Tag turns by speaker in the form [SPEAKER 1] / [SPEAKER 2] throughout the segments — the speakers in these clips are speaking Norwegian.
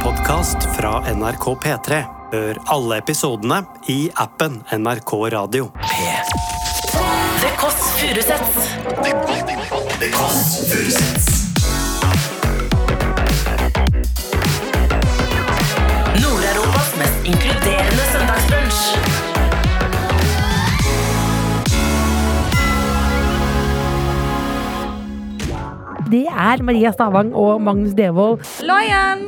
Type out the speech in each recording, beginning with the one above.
[SPEAKER 1] podkast fra NRK P3. Hør alle episodene i appen NRK Radio.
[SPEAKER 2] Det Kåss Furuseths. Nord-Europas mest inkluderende søndagsbrunsch.
[SPEAKER 3] Det er Maria Stavang og Magnus Devold.
[SPEAKER 4] Lion,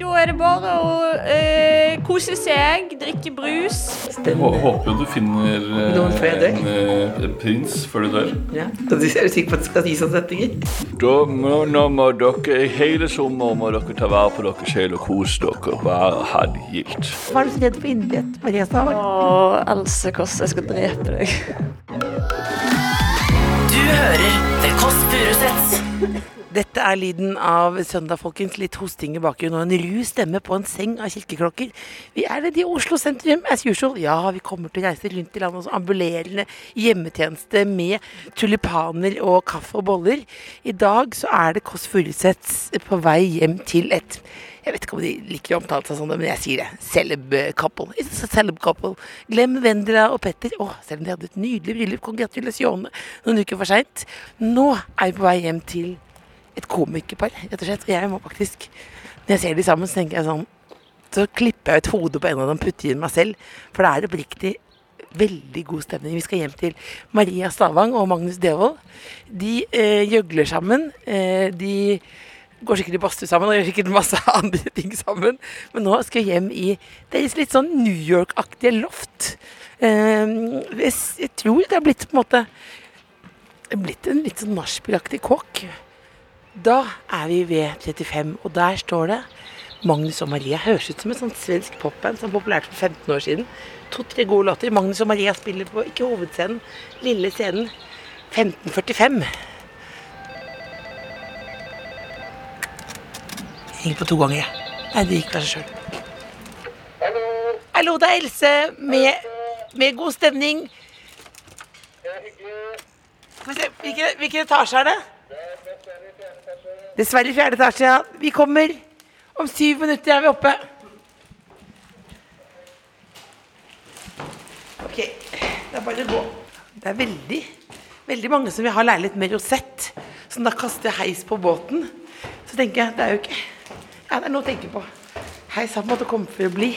[SPEAKER 4] da er det bare å eh, kose seg, drikke brus.
[SPEAKER 5] Hå- Håper jo du finner eh,
[SPEAKER 6] Noen før jeg dør.
[SPEAKER 5] en eh, prins før du dør.
[SPEAKER 6] Ja. Er du sikker på at du skal si sånne setninger?
[SPEAKER 5] Da må, nå må dere hele sommeren må dere ta vare på dere selv og kose dere. Være halvgilt.
[SPEAKER 3] Hva er du så redd for innbrett, Maria Stavang?
[SPEAKER 7] Åh, Else Kåss, jeg skal drepe deg.
[SPEAKER 2] Du hører Det Kåss Furuseths.
[SPEAKER 6] Dette er lyden av søndag, folkens. Litt hosting i bakgrunnen og en ru stemme på en seng av kirkeklokker. Vi er nede i Oslo sentrum as usual. Ja, vi kommer til å reise rundt i landet hos ambulerende hjemmetjeneste med tulipaner og kaffe og boller. I dag så er det Kåss Furuseths på vei hjem til et jeg vet ikke om de liker å omtale seg sånn, men jeg sier det. Celeb couple. It's a celeb couple. Glem Vendela og Petter. Å, selv om de hadde et nydelig bryllup. Congratulasjone noen uker for seint. Nå er vi på vei hjem til et komikerpar, rett og slett. Og jeg må faktisk Når jeg ser de sammen, så tenker jeg sånn Så klipper jeg ut hodet på en av dem, putter inn meg selv. For det er oppriktig veldig god stemning. Vi skal hjem til Maria Stavang og Magnus Devold. De eh, gjøgler sammen. Eh, de går sikkert i badstue sammen og gjør sikkert masse andre ting sammen. Men nå skal vi hjem i deres litt sånn New York-aktige loft. Eh, jeg, s- jeg tror det er blitt på en måte det er blitt en litt sånn nachspielaktig kåk. Da er vi ved 35, og der står det Magnus og Maria høres ut som et sånt svensk popband som populært for 15 år siden. To-tre gode låter. Magnus og Maria spiller på ikke hovedscenen, lille scenen. 1545. Jeg gikk på to ganger, jeg. Nei, det gikk av seg sjøl. Hallo, det er Else med, med god stemning. Få se, Hvilken, hvilken etasje er det? Dessverre i fjerde etasje, ja. Vi kommer. Om syv minutter er vi oppe. Ok, det er bare å gå. Det er veldig, veldig mange som vil ha leilighet med rosett, som da kaster heis på båten. Så tenker jeg, det er jo ikke Ja, det er noe å tenke på. Heis har på en måte kommet for å bli.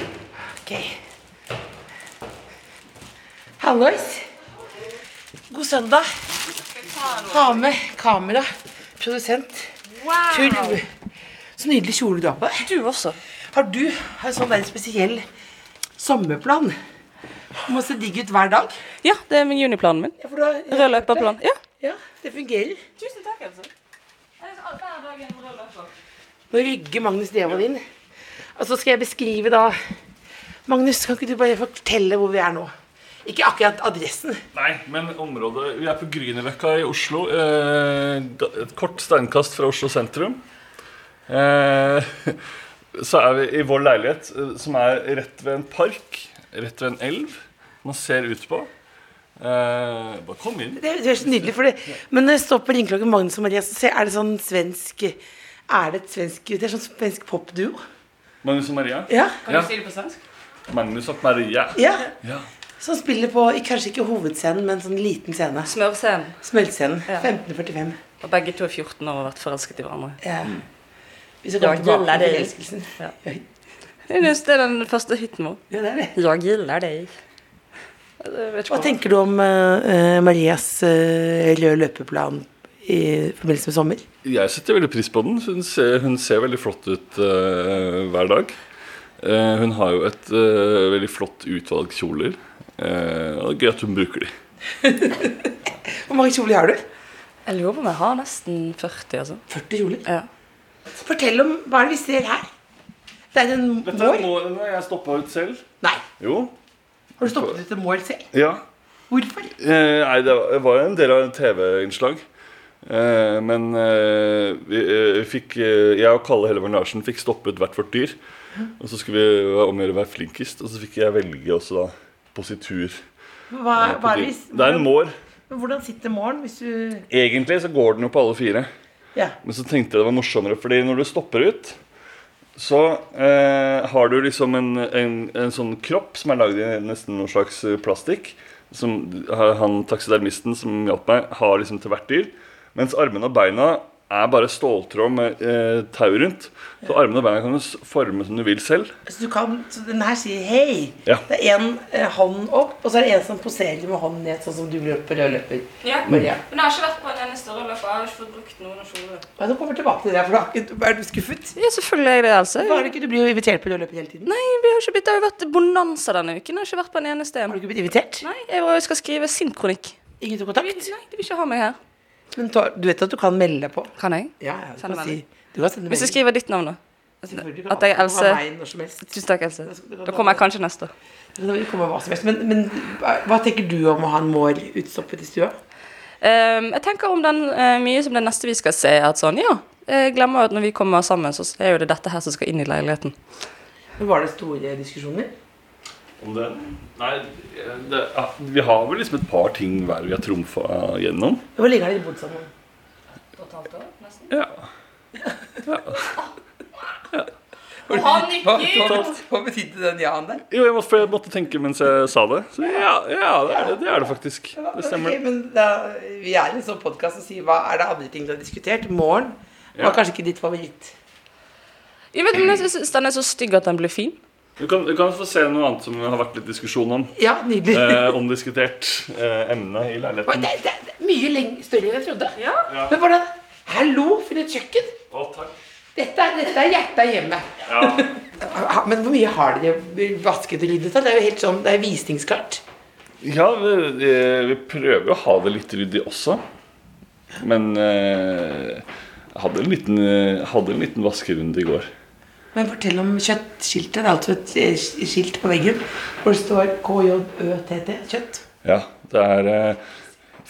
[SPEAKER 6] Ok. Hallois. God søndag. Ha med kamera. Produsent. Wow. Så nydelig kjole du har på deg. Du også. Har du en sånn der spesiell sommerplan? Du må se digg ut hver dag.
[SPEAKER 8] Ja, det er min juniplanen min.
[SPEAKER 6] Ja, for du har-
[SPEAKER 8] Rød løperplan. Ja.
[SPEAKER 6] Ja, det fungerer.
[SPEAKER 8] Tusen takk, altså. Else. Hver dag en rød løper.
[SPEAKER 6] Nå rygger Magnus Devold inn. Og så skal jeg beskrive da Magnus, kan ikke du bare fortelle hvor vi er nå? Ikke akkurat adressen.
[SPEAKER 5] Nei, men området Vi er på Grünerløkka i Oslo. Eh, ga- et kort steinkast fra Oslo sentrum. Eh, så er vi i vår leilighet, eh, som er rett ved en park. Rett ved en elv man ser ut på. Eh, bare kom inn.
[SPEAKER 6] Det det høres nydelig for det. Men når jeg står på ringeklokken Magnus og Maria, så ser, er det sånn svensk Er det et svensk Det er sånn svensk popduo?
[SPEAKER 5] Magnus og Maria.
[SPEAKER 6] Ja.
[SPEAKER 5] Ja. Magnus og Maria.
[SPEAKER 6] ja.
[SPEAKER 5] Ja.
[SPEAKER 6] Som spiller på ikke- kanskje ikke hovedscenen, men sånn liten scene.
[SPEAKER 8] Smørscenen.
[SPEAKER 6] Smeltscenen. 1545.
[SPEAKER 8] Og begge to er 14 år og har vært forelsket i hverandre.
[SPEAKER 6] Ja. Vi skal komme
[SPEAKER 8] Ja,
[SPEAKER 6] tilbake
[SPEAKER 8] gjelder
[SPEAKER 6] til
[SPEAKER 8] det.
[SPEAKER 6] forelskelsen.
[SPEAKER 8] Ja. Jeg synes det er den første hiten vår.
[SPEAKER 6] Ja, det er det.
[SPEAKER 8] Jeg gillar deg. Jeg vet ikke
[SPEAKER 6] Hva tenker du om eh, eh, Marias eh, røde løpeplan i forbindelse med sommer?
[SPEAKER 5] Jeg setter veldig pris på den. Hun ser, hun ser veldig flott ut eh, hver dag. Eh, hun har jo et eh, veldig flott utvalg kjoler. Eh, og det er gøy at hun bruker de.
[SPEAKER 6] Hvor mange kjoler har du?
[SPEAKER 8] Jeg lurer på om jeg har nesten 40, altså.
[SPEAKER 6] 40 kjoler.
[SPEAKER 8] Ja.
[SPEAKER 6] Fortell om hva er det vi ser her. Det er en mål.
[SPEAKER 5] jeg stoppa ut selv.
[SPEAKER 6] Nei,
[SPEAKER 5] Jo.
[SPEAKER 6] har du stoppet ut en mål selv?
[SPEAKER 5] Ja.
[SPEAKER 6] Hvorfor?
[SPEAKER 5] Eh, nei, det var- det var en del av et TV-innslag. Eh, men eh, vi, eh, fikk, eh, jeg og Kalle Hellemann Larsen fikk stoppet hvert vårt dyr. Og så skulle vi omgjøre hver flinkest, og så fikk jeg velge også da positur.
[SPEAKER 6] Hva, hva
[SPEAKER 5] på
[SPEAKER 6] er
[SPEAKER 5] dyr.
[SPEAKER 6] det, vi-
[SPEAKER 5] Det er en mår.
[SPEAKER 6] Hvordan sitter målen hvis du
[SPEAKER 5] Egentlig så går den jo på alle fire.
[SPEAKER 6] Ja.
[SPEAKER 5] Men så tenkte jeg det var morsommere, fordi når du stopper ut, så eh, har du liksom en, en, en sånn kropp som er lagd i nesten noen slags eh, plastikk. Som ha- han taksidermisten som hjalp meg, har liksom til hvert dyr. Mens armene og beina er bare ståltråd med eh, tau rundt. Så armene og beina kan du s- forme som du vil selv.
[SPEAKER 6] Så, du kan, så den her sier hei.
[SPEAKER 5] Ja.
[SPEAKER 6] Det er én eh, hånd opp, og så er det en som poserer med hånden ned, sånn som du løper på rød løper.
[SPEAKER 5] Mm.
[SPEAKER 8] Ja.
[SPEAKER 6] Maria.
[SPEAKER 8] Men jeg har ikke vært på en eneste rødløper. Jeg har ikke fått brukt noen av kjolene.
[SPEAKER 6] Ja, nå kommer jeg tilbake til det, for da er ikke- er du skuffet?
[SPEAKER 8] Ja, selvfølgelig er jeg det, altså.
[SPEAKER 6] Var det ikke du blir jo invitert på rød løper hele tiden?
[SPEAKER 8] Nei, vi har ikke blitt, det har jo vært bonanza denne uken. Jeg har ikke vært på en eneste en.
[SPEAKER 6] Har du ikke blitt invitert?
[SPEAKER 8] Nei, jeg var- jeg skal skrive sint-kronikk.
[SPEAKER 6] Ingen tok
[SPEAKER 8] Nei,
[SPEAKER 6] kontakt?
[SPEAKER 8] de vil ikke ha meg her.
[SPEAKER 6] Men ta, du vet at du kan melde deg på?
[SPEAKER 8] Kan jeg?
[SPEAKER 6] Ja, ja, du
[SPEAKER 8] Send
[SPEAKER 6] kan si.
[SPEAKER 8] melding.
[SPEAKER 6] Du kan sende
[SPEAKER 8] Hvis jeg
[SPEAKER 6] melding.
[SPEAKER 8] skriver ditt navn, da.
[SPEAKER 6] Selvfølgelig
[SPEAKER 8] at
[SPEAKER 6] kan du
[SPEAKER 8] jeg altså- er
[SPEAKER 6] kan
[SPEAKER 8] Else.
[SPEAKER 6] ha meg når som helst.
[SPEAKER 8] Tusen takk, Else. Da kommer jeg kanskje neste år.
[SPEAKER 6] Det kommer hva som helst. Men, men hva tenker du om å ha en mår utstoppet i stua?
[SPEAKER 8] Ehm, jeg tenker om den eh, mye som det neste vi skal se, er at sånn, ja. Jeg glemmer at når vi kommer sammen, så er jo det dette her som skal inn i leiligheten.
[SPEAKER 6] Men Var det store diskusjoner?
[SPEAKER 5] Om det? Nei, det, ja, vi har vel liksom et par ting hver vi har trumfa gjennom.
[SPEAKER 6] Hvor lenge har dere bodd sammen?
[SPEAKER 5] Ja.
[SPEAKER 4] Han nikker!
[SPEAKER 6] Hva betydde den ja-en der?
[SPEAKER 5] Jo, jeg måtte, for jeg måtte tenke mens jeg sa det. Så ja, ja det, er det, det er det faktisk. Det stemmer.
[SPEAKER 6] Ok, men da, vi er i en sånn podkast og sier hva er det andre ting dere har diskutert? Morgen
[SPEAKER 5] Ja.
[SPEAKER 6] var kanskje ikke ditt favoritt.
[SPEAKER 8] Jeg vet, men jeg synes den er så stygg at den blir fin.
[SPEAKER 5] Du kan, du kan få se noe annet som det har vært litt diskusjon om.
[SPEAKER 6] Ja, nydelig.
[SPEAKER 5] Eh, omdiskutert eh, emne i
[SPEAKER 6] Oi,
[SPEAKER 5] leiligheten.
[SPEAKER 6] Det, det, det er mye leng- større enn jeg trodde.
[SPEAKER 5] Ja.
[SPEAKER 6] Men hvordan Hallo, for et kjøkken!
[SPEAKER 5] Å, takk.
[SPEAKER 6] Dette er, dette er hjertet av hjemmet.
[SPEAKER 5] Ja.
[SPEAKER 6] Ha- Men hvor mye har dere vasket og ryddet? da? Det er jo helt sånn, det er visningskart.
[SPEAKER 5] ja, vi, eh, vi prøver å ha det litt ryddig også. Men eh, jeg hadde en liten, eh, hadde en liten vaskerunde i går.
[SPEAKER 6] Men fortell om kjøttskiltet. Det er altså et eh, skilt på veggen hvor det står KJØTT, kjøtt.
[SPEAKER 5] Ja, det er eh,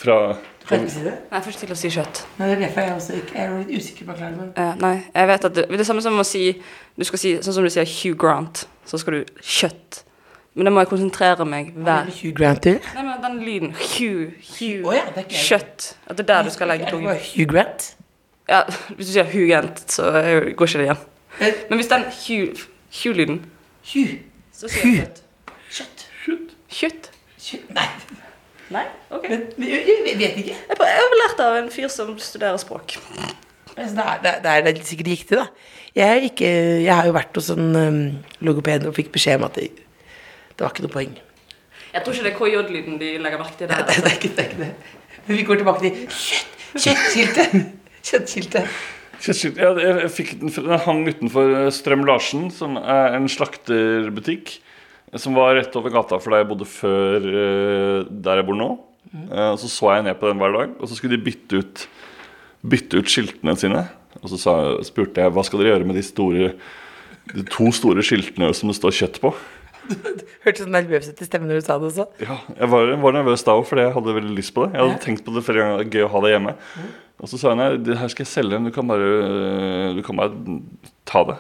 [SPEAKER 5] fra
[SPEAKER 6] Kan jeg ikke si det?
[SPEAKER 8] Nei, først til å si kjøtt.
[SPEAKER 6] Nei, det er derfor jeg også ikke, jeg er litt usikker på å klare men
[SPEAKER 8] Eh, nei, jeg vet at det, det er det samme som å si Du skal si, sånn som du sier Hugh Grant, så skal du kjøtt. Men da må jeg konsentrere meg hver
[SPEAKER 6] Hugh Grant til?
[SPEAKER 8] Nei, men den lyden. Hugh, Hugh,
[SPEAKER 6] Å ja, det er ikke jeg.
[SPEAKER 8] kjøtt. At det er der du skal legge tungen.
[SPEAKER 6] Hugh Grant?
[SPEAKER 8] Ja, hvis du sier Hugh Grant, så eh, går ikke det igjen.
[SPEAKER 6] Eh,
[SPEAKER 8] Men hvis den Hugh- Hugh-lyden
[SPEAKER 6] Hugh.
[SPEAKER 8] Så sier jeg kjøtt.
[SPEAKER 6] Kjøtt.
[SPEAKER 8] Kjøtt?
[SPEAKER 6] Kjøtt. Nei,
[SPEAKER 8] Nei? Ok.
[SPEAKER 6] men, men jeg, jeg vet ikke.
[SPEAKER 8] Jeg prøv- jeg har lært av en fyr som studerer språk.
[SPEAKER 6] Altså, det, er, det, er, det er litt sikkert riktig, da. Jeg, er ikke, jeg har jo vært hos en um, logoped og fikk beskjed om at det, det var ikke noe poeng.
[SPEAKER 8] Jeg tror ikke det er KJ-lyden de legger merke til
[SPEAKER 6] Nei, det, det, er ikke, det er ikke det. Men vi går tilbake til kjøtt, kjøttskiltet. Kjøttskiltet.
[SPEAKER 5] Kjøttskilt. Ja, jeg jeg fikk den, fra- den hang utenfor eh, Strøm Larsen, som er en slakterbutikk. eh, Som var rett over gata for der jeg bodde før eh, der jeg bor nå. Eh, Og så så jeg ned på den hver dag, og så skulle de bytte ut, bytte ut skiltene sine. Og så sa, spurte jeg hva skal dere gjøre med de, store, de to store skiltene som det står kjøtt på.
[SPEAKER 6] Hørtes så nervøs ut sånn i stemmen når du sa det også.
[SPEAKER 5] Ja, jeg var, var nervøs da òg, fordi jeg hadde veldig lyst på det. Jeg hadde tenkt på det flere ganger, gøy å ha det hjemme. Og så sa hun nei, det her skal jeg selge, men du kan bare, øh, du kan bare ta det.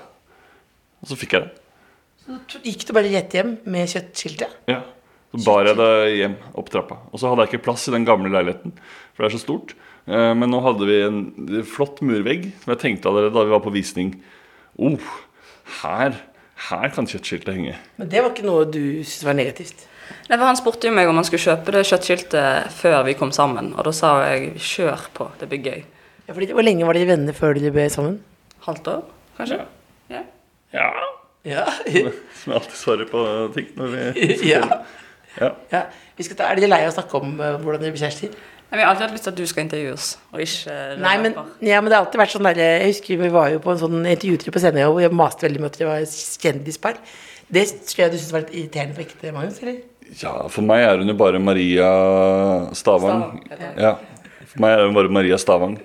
[SPEAKER 5] Og så fikk jeg det.
[SPEAKER 6] Gikk du bare rett hjem med kjøttskiltet?
[SPEAKER 5] Ja. Så bar jeg det hjem opp trappa. Og så hadde jeg ikke plass i den gamle leiligheten, for det er så stort. Eh, Men nå hadde vi en flott murvegg, som jeg tenkte allerede da vi var på visning. Oh, her, her kan kjøttskiltet henge.
[SPEAKER 6] Men det var ikke noe du syntes var negativt.
[SPEAKER 8] Nei, for Han spurte jo meg om han skulle kjøpe det kjøttskiltet før vi kom sammen, og da sa jeg 'kjør på, det blir gøy'.
[SPEAKER 6] Ja, fordi, hvor lenge var dere venner før dere ble sammen?
[SPEAKER 8] Halvt år, kanskje? Ja.
[SPEAKER 5] Ja.
[SPEAKER 6] Ja.
[SPEAKER 5] Som jeg alltid svarer på ting når vi
[SPEAKER 6] ja.
[SPEAKER 5] Ja.
[SPEAKER 6] ja. Vi skal ta, er dere lei av å snakke om eh, hvordan dere ble kjærester?
[SPEAKER 8] Nei, men Jeg har alltid hatt lyst til at du skal intervjue oss, og ikke eh,
[SPEAKER 6] Nei, men,
[SPEAKER 8] rødløper.
[SPEAKER 6] ja, men det har alltid vært sånn der, Jeg husker vi var jo på en sånn intervjutur på Senja hvor jeg maste veldig med at det var kjendispar. Det tror jeg du syntes var litt irriterende på ekte, Magnus? eller?
[SPEAKER 5] Ja, for meg er hun jo bare Maria Stavang.
[SPEAKER 8] Stavang, heter
[SPEAKER 5] ja. For meg er hun bare Maria Stavang.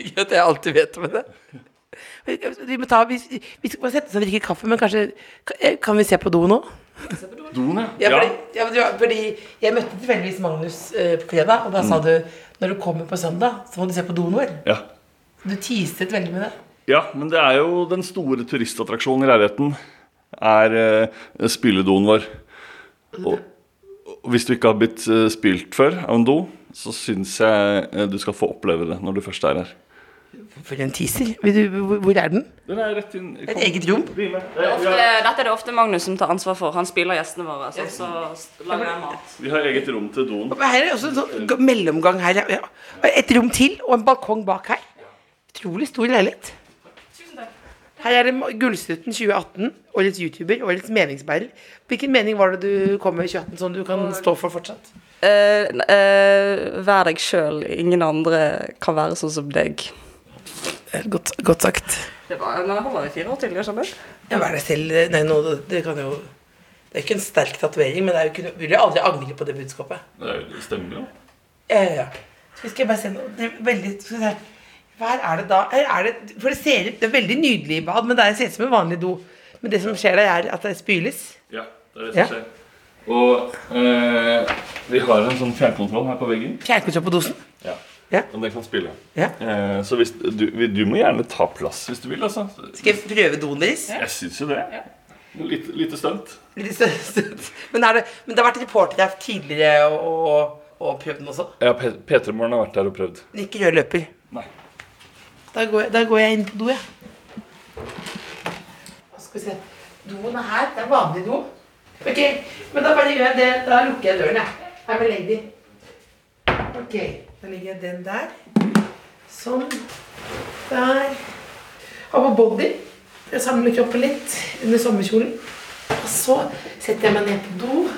[SPEAKER 6] Ikke at jeg alltid vet om det. Vi, må ta, vi, vi skal bare sette oss og drikke kaffe, men kanskje kan- Kan vi se på do nå?
[SPEAKER 5] Doen,
[SPEAKER 6] Ja, fordi, ja, men det var- fordi jeg møtte tilfeldigvis Magnus eh, på fredag, og da sa du når du kommer på søndag, så må du se på doen vår.
[SPEAKER 5] Ja.
[SPEAKER 6] Du teaset veldig med det.
[SPEAKER 5] ja, men det er jo den store turistattraksjonen i leiligheten. Er eh, spyledoen vår. Og, og hvis du ikke har blitt eh, spylt før av en do, så syns jeg eh, du skal få oppleve det når du først er her.
[SPEAKER 6] For en teaser. Vil du, hvor- hvor er den?
[SPEAKER 5] Den er rett inn
[SPEAKER 6] Et eget altså- rom?
[SPEAKER 5] Bli med.
[SPEAKER 8] Ofte,
[SPEAKER 5] vi, har,
[SPEAKER 8] dette er det ofte Magnus som tar ansvar for. Han spiller gjestene våre. Så, så lager jeg mat.
[SPEAKER 5] vi har eget rom til doen.
[SPEAKER 6] Her er det også en sånn g- mellomgang her. ja, ja. Et rom til og en balkong bak her. Utrolig stor leilighet. Her er det Ma- Gullstruten 2018. Årets YouTuber, årets meningsbærer. Hvilken mening var det du kom med i 2018 som du kan stå for fortsatt?
[SPEAKER 8] Eh, eh, vær deg sjøl. Ingen andre kan være sånn som deg.
[SPEAKER 6] Eh, Godt, godt sagt.
[SPEAKER 8] Det var, men jeg holder i fire år til. jeg skjønner.
[SPEAKER 6] Ja, vær deg selv. Nei, nå, det- det kan jo Det er ikke en sterk tatovering, men det er jo ikke, noe- vil jo aldri angre på det budskapet.
[SPEAKER 5] Det er- stemmer jo.
[SPEAKER 6] Ja, ja, ja. Så skal jeg bare se noe det er veldig, skal vi se. Hva er det da? Her er det, for det ser ut, det er veldig nydelig i bad, men det er- ser ut som en vanlig do. Men det som skjer der, er at det spyles.
[SPEAKER 5] Ja, det er
[SPEAKER 6] Ja.
[SPEAKER 5] det som skjer. Og eh, vi har en sånn fjernkontroll her på veggen.
[SPEAKER 6] Fjernkontroll på dosen.
[SPEAKER 5] Ja.
[SPEAKER 6] Ja.
[SPEAKER 5] Og den kan spille.
[SPEAKER 6] Ja.
[SPEAKER 5] Eh, så hvis, du, du må gjerne ta plass hvis du vil, altså.
[SPEAKER 6] Skal jeg prøve doen deres?
[SPEAKER 5] Jeg syns jo det. Litt, lite stunt.
[SPEAKER 6] Litt stø- støt. Men, er det, men det har vært reportere her tidligere og, og, og prøvd den også.
[SPEAKER 5] Ja, P- P3 Morgen har vært der og prøvd.
[SPEAKER 6] Men ikke rød løper.
[SPEAKER 5] Nei.
[SPEAKER 6] Da går, jeg- da går jeg inn på do, jeg. Hva Skal vi se. Doen er her. Det er vanlig do. Ok, men da bare gjør jeg det. Da lukker jeg døren, jeg. Her med lady. Ok, da legger jeg den der. Sånn. Der. Har på body. Jeg samler kroppen litt under sommerkjolen. Og så setter jeg meg ned på do.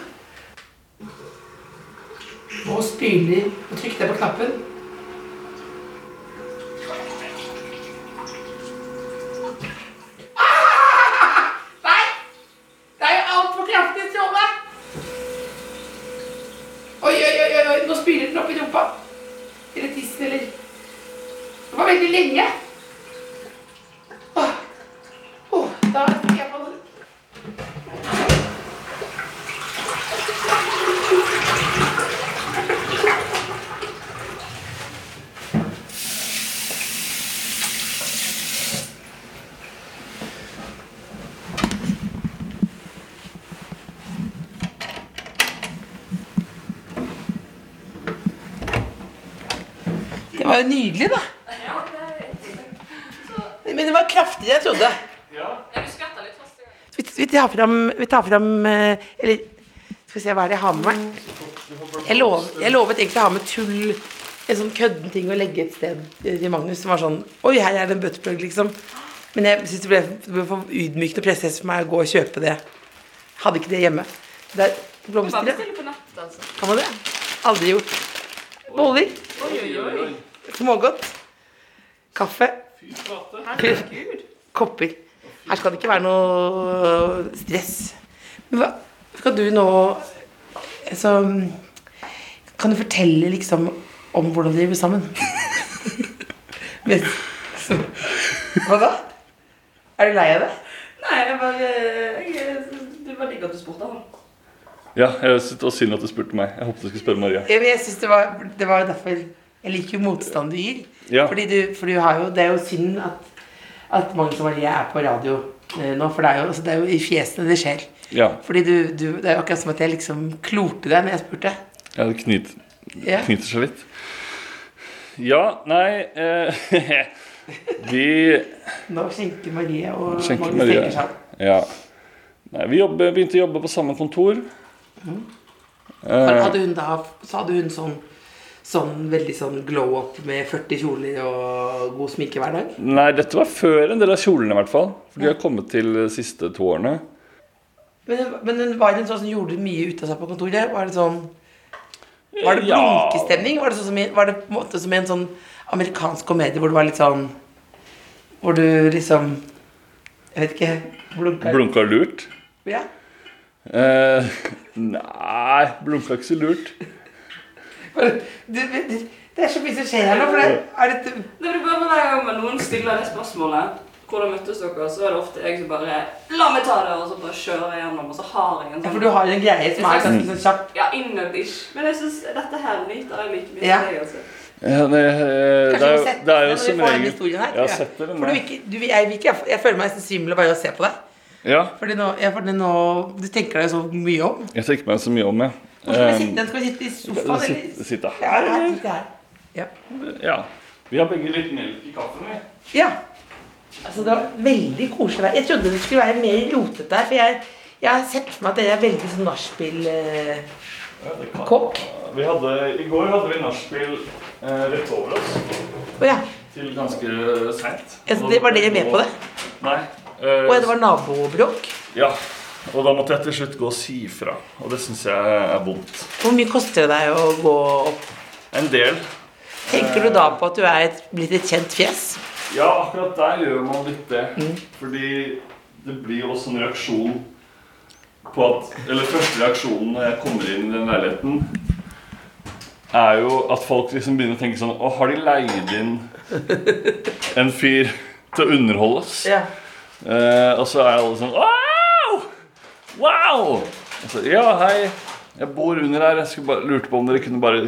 [SPEAKER 6] Og spyler. Og trykker jeg på knappen. Nei! Det er jo altfor kraftig stråle! Oi, oi, oi, oi, oi, nå spyler den opp i rumpa. Eller tissen, eller Det var veldig lenge. Åh. Åh, da fikk jeg på den. Det var jo nydelig, da. Men det var kraftigere enn jeg trodde. Så vi, vi tar fram, vi tar fram eh, Eller skal vi se, hva er det jeg har med meg? Jeg, lov, jeg lovet egentlig å ha med tull. En sånn kødden ting å legge et sted eh, til Magnus som var sånn Oi, her er det en buttplug, liksom. Men jeg synes det ble, det ble for ydmykende og presset for meg å gå og kjøpe det. Hadde ikke det hjemme. Det er blomster, ja.
[SPEAKER 8] på nett, altså.
[SPEAKER 6] Kan man det? Aldri gjort. Boller. Smågodt. Kaffe. Kopper. Her skal det ikke være noe stress. Men hva skal du nå altså, Kan du fortelle liksom om hvordan dere blir sammen? Men- Hva da? Er du lei av det?
[SPEAKER 8] Nei, jeg bare, jeg, det var digg at du spurte han.
[SPEAKER 5] Ja, jeg synes det var synd at du spurte meg. Jeg håpet du skulle spørre Maria.
[SPEAKER 6] Jeg, jeg synes det var, det var derfor Jeg liker jo motstand du gir.
[SPEAKER 5] Ja.
[SPEAKER 6] Fordi du, for du har jo, det er jo synd at, at Magnus og Maria er på radio eh, nå, for det er jo, altså, det er jo i fjesene det skjer.
[SPEAKER 5] Ja,
[SPEAKER 6] Fordi du, du, Det er jo akkurat som at jeg liksom klorte deg når jeg spurte.
[SPEAKER 5] ja det knyt,
[SPEAKER 6] Ja.
[SPEAKER 5] knyter seg litt. Ja, nei eh, Vi
[SPEAKER 6] Nå skjenker Marie og
[SPEAKER 5] Skjenker
[SPEAKER 6] Magnus
[SPEAKER 5] Maria.
[SPEAKER 6] tenker seg.
[SPEAKER 5] Ja. Nei, vi jobber, begynte å jobbe på samme kontor. Eh,
[SPEAKER 6] For Hadde hun da, så hadde hun sånn, sånn veldig sånn glow up med 40 kjoler og god sminke hver dag.
[SPEAKER 5] Nei, dette var før en del av kjolene, i hvert fall. For de har kommet til de siste to årene.
[SPEAKER 6] Men, hun- men hun var en sånn som gjorde mye ut av seg på kontoret. Var det sånn Var det
[SPEAKER 5] Ja.
[SPEAKER 6] blunkestemning? Var det, sånn som i, var det på en måte som i en sånn amerikansk komedie hvor det var litt sånn Hvor du liksom Jeg vet ikke Blunka?
[SPEAKER 5] Blunka lurt?
[SPEAKER 6] Ja.
[SPEAKER 5] Eh, nei, blunka ikke så lurt.
[SPEAKER 6] Bare- Du, du, det er så mye som skjer her nå, for det er dette
[SPEAKER 8] Det blir bare hver gang man noen stiller det spørsmålet hvordan møttes dere, så er det ofte jeg som bare La meg ta det, og så bare kjører jeg gjennom, og så har jeg en
[SPEAKER 6] ja,
[SPEAKER 8] sånn
[SPEAKER 6] For du har en greie som er ganske sånn kjapp.
[SPEAKER 8] Ja, innøvd ish. Men jeg synes dette her nyter jeg like mye
[SPEAKER 6] Ja.
[SPEAKER 8] som deg. altså.
[SPEAKER 5] Ja, det, eh, det, er, jo- det er jo som
[SPEAKER 6] regel
[SPEAKER 5] regel Ja, sett dere
[SPEAKER 6] For du, vil
[SPEAKER 5] ned.
[SPEAKER 6] ikke, du, jeg, vil ikke, jeg, jeg føler meg nesten svimmel bare av å se på deg.
[SPEAKER 5] Ja,
[SPEAKER 6] Fordi nå, jeg, fordi nå Du tenker deg så mye om.
[SPEAKER 5] jeg tenker meg så mye om, jeg.
[SPEAKER 6] Hvor skal vi
[SPEAKER 5] Eh,
[SPEAKER 6] Ehm, sitte? Skal vi sitte i sofaen,
[SPEAKER 5] sitte,
[SPEAKER 6] eller?
[SPEAKER 5] sitte
[SPEAKER 6] Ja,
[SPEAKER 5] her?
[SPEAKER 6] her, sitte her.
[SPEAKER 5] Eh, Ja. Vi har begge litt melk i kaffen. vi.
[SPEAKER 6] Ja. Altså, det var veldig koselig vær. Jeg trodde det skulle være mer rotete her, for jeg, jeg har sett for meg at dere er veldig sånn eh, nachspiel-kokk.
[SPEAKER 5] Vi hadde, I går hadde vi nachspiel eh, rett over oss
[SPEAKER 6] Å ja.
[SPEAKER 5] til ganske seint.
[SPEAKER 6] Ja, så det var dere med på det?
[SPEAKER 5] Nei. eh,
[SPEAKER 6] Å ja, det var nabobråk.
[SPEAKER 5] Ja. Og da måtte jeg til slutt gå og si ifra. Og det syns jeg er vondt.
[SPEAKER 6] Hvor mye koster det deg å gå opp?
[SPEAKER 5] En del.
[SPEAKER 6] Tenker du da på at du er et, blitt et kjent fjes?
[SPEAKER 5] Ja, akkurat der gjør man litt det.
[SPEAKER 6] Mm.
[SPEAKER 5] Fordi det blir jo også en reaksjon på at Eller første reaksjonen når jeg kommer inn i den leiligheten, er jo at folk liksom begynner å tenke sånn Å, har de leid inn en fyr til å underholde oss?
[SPEAKER 6] Ja.
[SPEAKER 5] Eh, og så er alle sånn Wow! Wow! Og så, ja, hei. Jeg bor under her. Jeg skulle bare, lurte på om dere kunne bare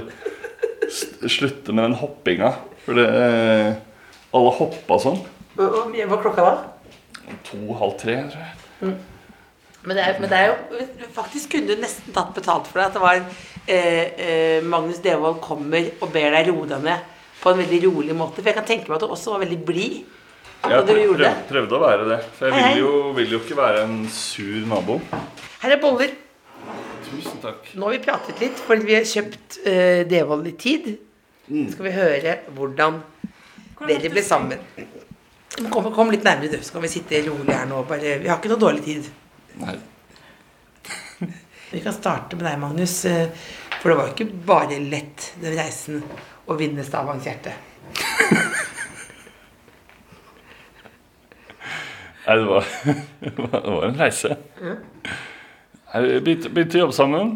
[SPEAKER 5] s- slutte med den hoppinga. For det eh, Alle hoppa sånn.
[SPEAKER 6] Hvor mye var klokka da?
[SPEAKER 5] To-halv tre, tror jeg.
[SPEAKER 6] Men det, er, men det er jo Faktisk kunne du nesten tatt betalt for det. At det var eh, eh, Magnus Devold kommer og ber deg roe deg ned på en veldig rolig måte. For jeg kan tenke meg at du også var veldig blid.
[SPEAKER 5] Jeg
[SPEAKER 6] Og du
[SPEAKER 5] prøv-
[SPEAKER 6] gjorde det.
[SPEAKER 5] prøv- prøvde å være det. For jeg
[SPEAKER 6] Hei, hei.
[SPEAKER 5] vil jo, vil jo ikke være en sur nabo.
[SPEAKER 6] Her er boller.
[SPEAKER 5] Tusen takk.
[SPEAKER 6] Nå har vi pratet litt, fordi vi har kjøpt eh, Devold litt tid. Så skal vi høre hvordan dere ble sammen. Kom, kom litt nærmere, du, så kan vi sitte rolig her nå. og Bare, vi har ikke noe dårlig tid.
[SPEAKER 5] Nei.
[SPEAKER 6] Vi kan starte med deg, Magnus. eh, For det var jo ikke bare lett, den reisen, å vinne Stavangs hjerte.
[SPEAKER 5] Nei, det var, det var en reise. Nei, Vi begynte, begynte å jobbe sammen.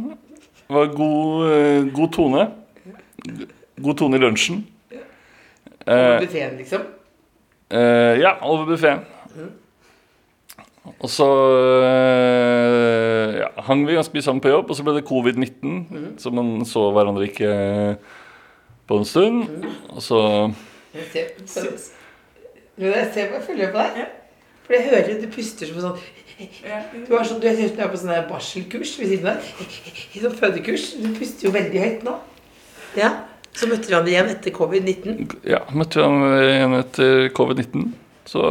[SPEAKER 5] Det var god, eh, god tone. God tone i lunsjen. Eh,
[SPEAKER 6] Buffeen, liksom.
[SPEAKER 5] eh, ja, over buffeen. Og så eh, ja, hang vi ganske mye sammen på jobb, og så ble det covid-19. Så man så hverandre ikke på en stund. Og så
[SPEAKER 6] Jeg ser- så- Jo, Jeg ser jeg følger på deg. For jeg hører du puster som en sånn Du er sånn, du jeg ser ut som du er på sånn der barselkurs ved siden av. Sånn fødekurs. Du puster jo veldig høyt nå. Ja. Så møtte du ham igjen etter covid-19.
[SPEAKER 5] ja, møtte vi ham eh, igjen etter covid-19. Så,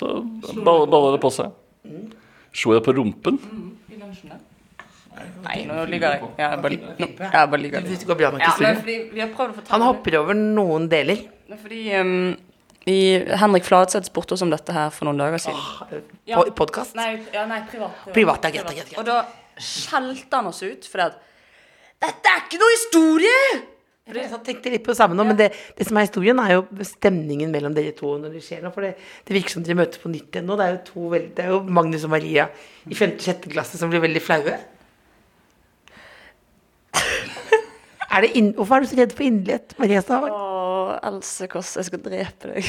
[SPEAKER 5] så ball- balla det på Mm. seg. Slo jeg på rumpen?
[SPEAKER 8] Nei, nå lyver jeg. Ja, jeg bare, nå, jeg bare lyver.
[SPEAKER 6] Du synes det går bra nok
[SPEAKER 8] Ja,
[SPEAKER 6] i
[SPEAKER 8] men
[SPEAKER 6] studio.
[SPEAKER 8] fordi vi har prøvd å fortelle
[SPEAKER 6] Han hopper over noen deler.
[SPEAKER 8] Nei, Fordi ehm, i, Henrik Fladseth spurte oss om dette her for noen dager siden.
[SPEAKER 6] På podkast.
[SPEAKER 8] Nei, ja, nei privat.
[SPEAKER 6] Privat, ja, greit, greit, greit.
[SPEAKER 8] Og da skjelte han oss ut fordi at Dette er ikke noe historie!
[SPEAKER 6] Jeg tenkte litt på det samme nå, men det, det som er historien, er jo stemningen mellom dere to når det skjer noe. For det, det virker som dere møtes på nytt igjen nå. Det er jo, to veld, det er jo Magnus og Maria i 5.-6. klasse som blir veldig flaue. Er det inn, hvorfor er du så redd for inderlighet, Maria Stavang?
[SPEAKER 7] Og Else Kåss, jeg skal drepe deg.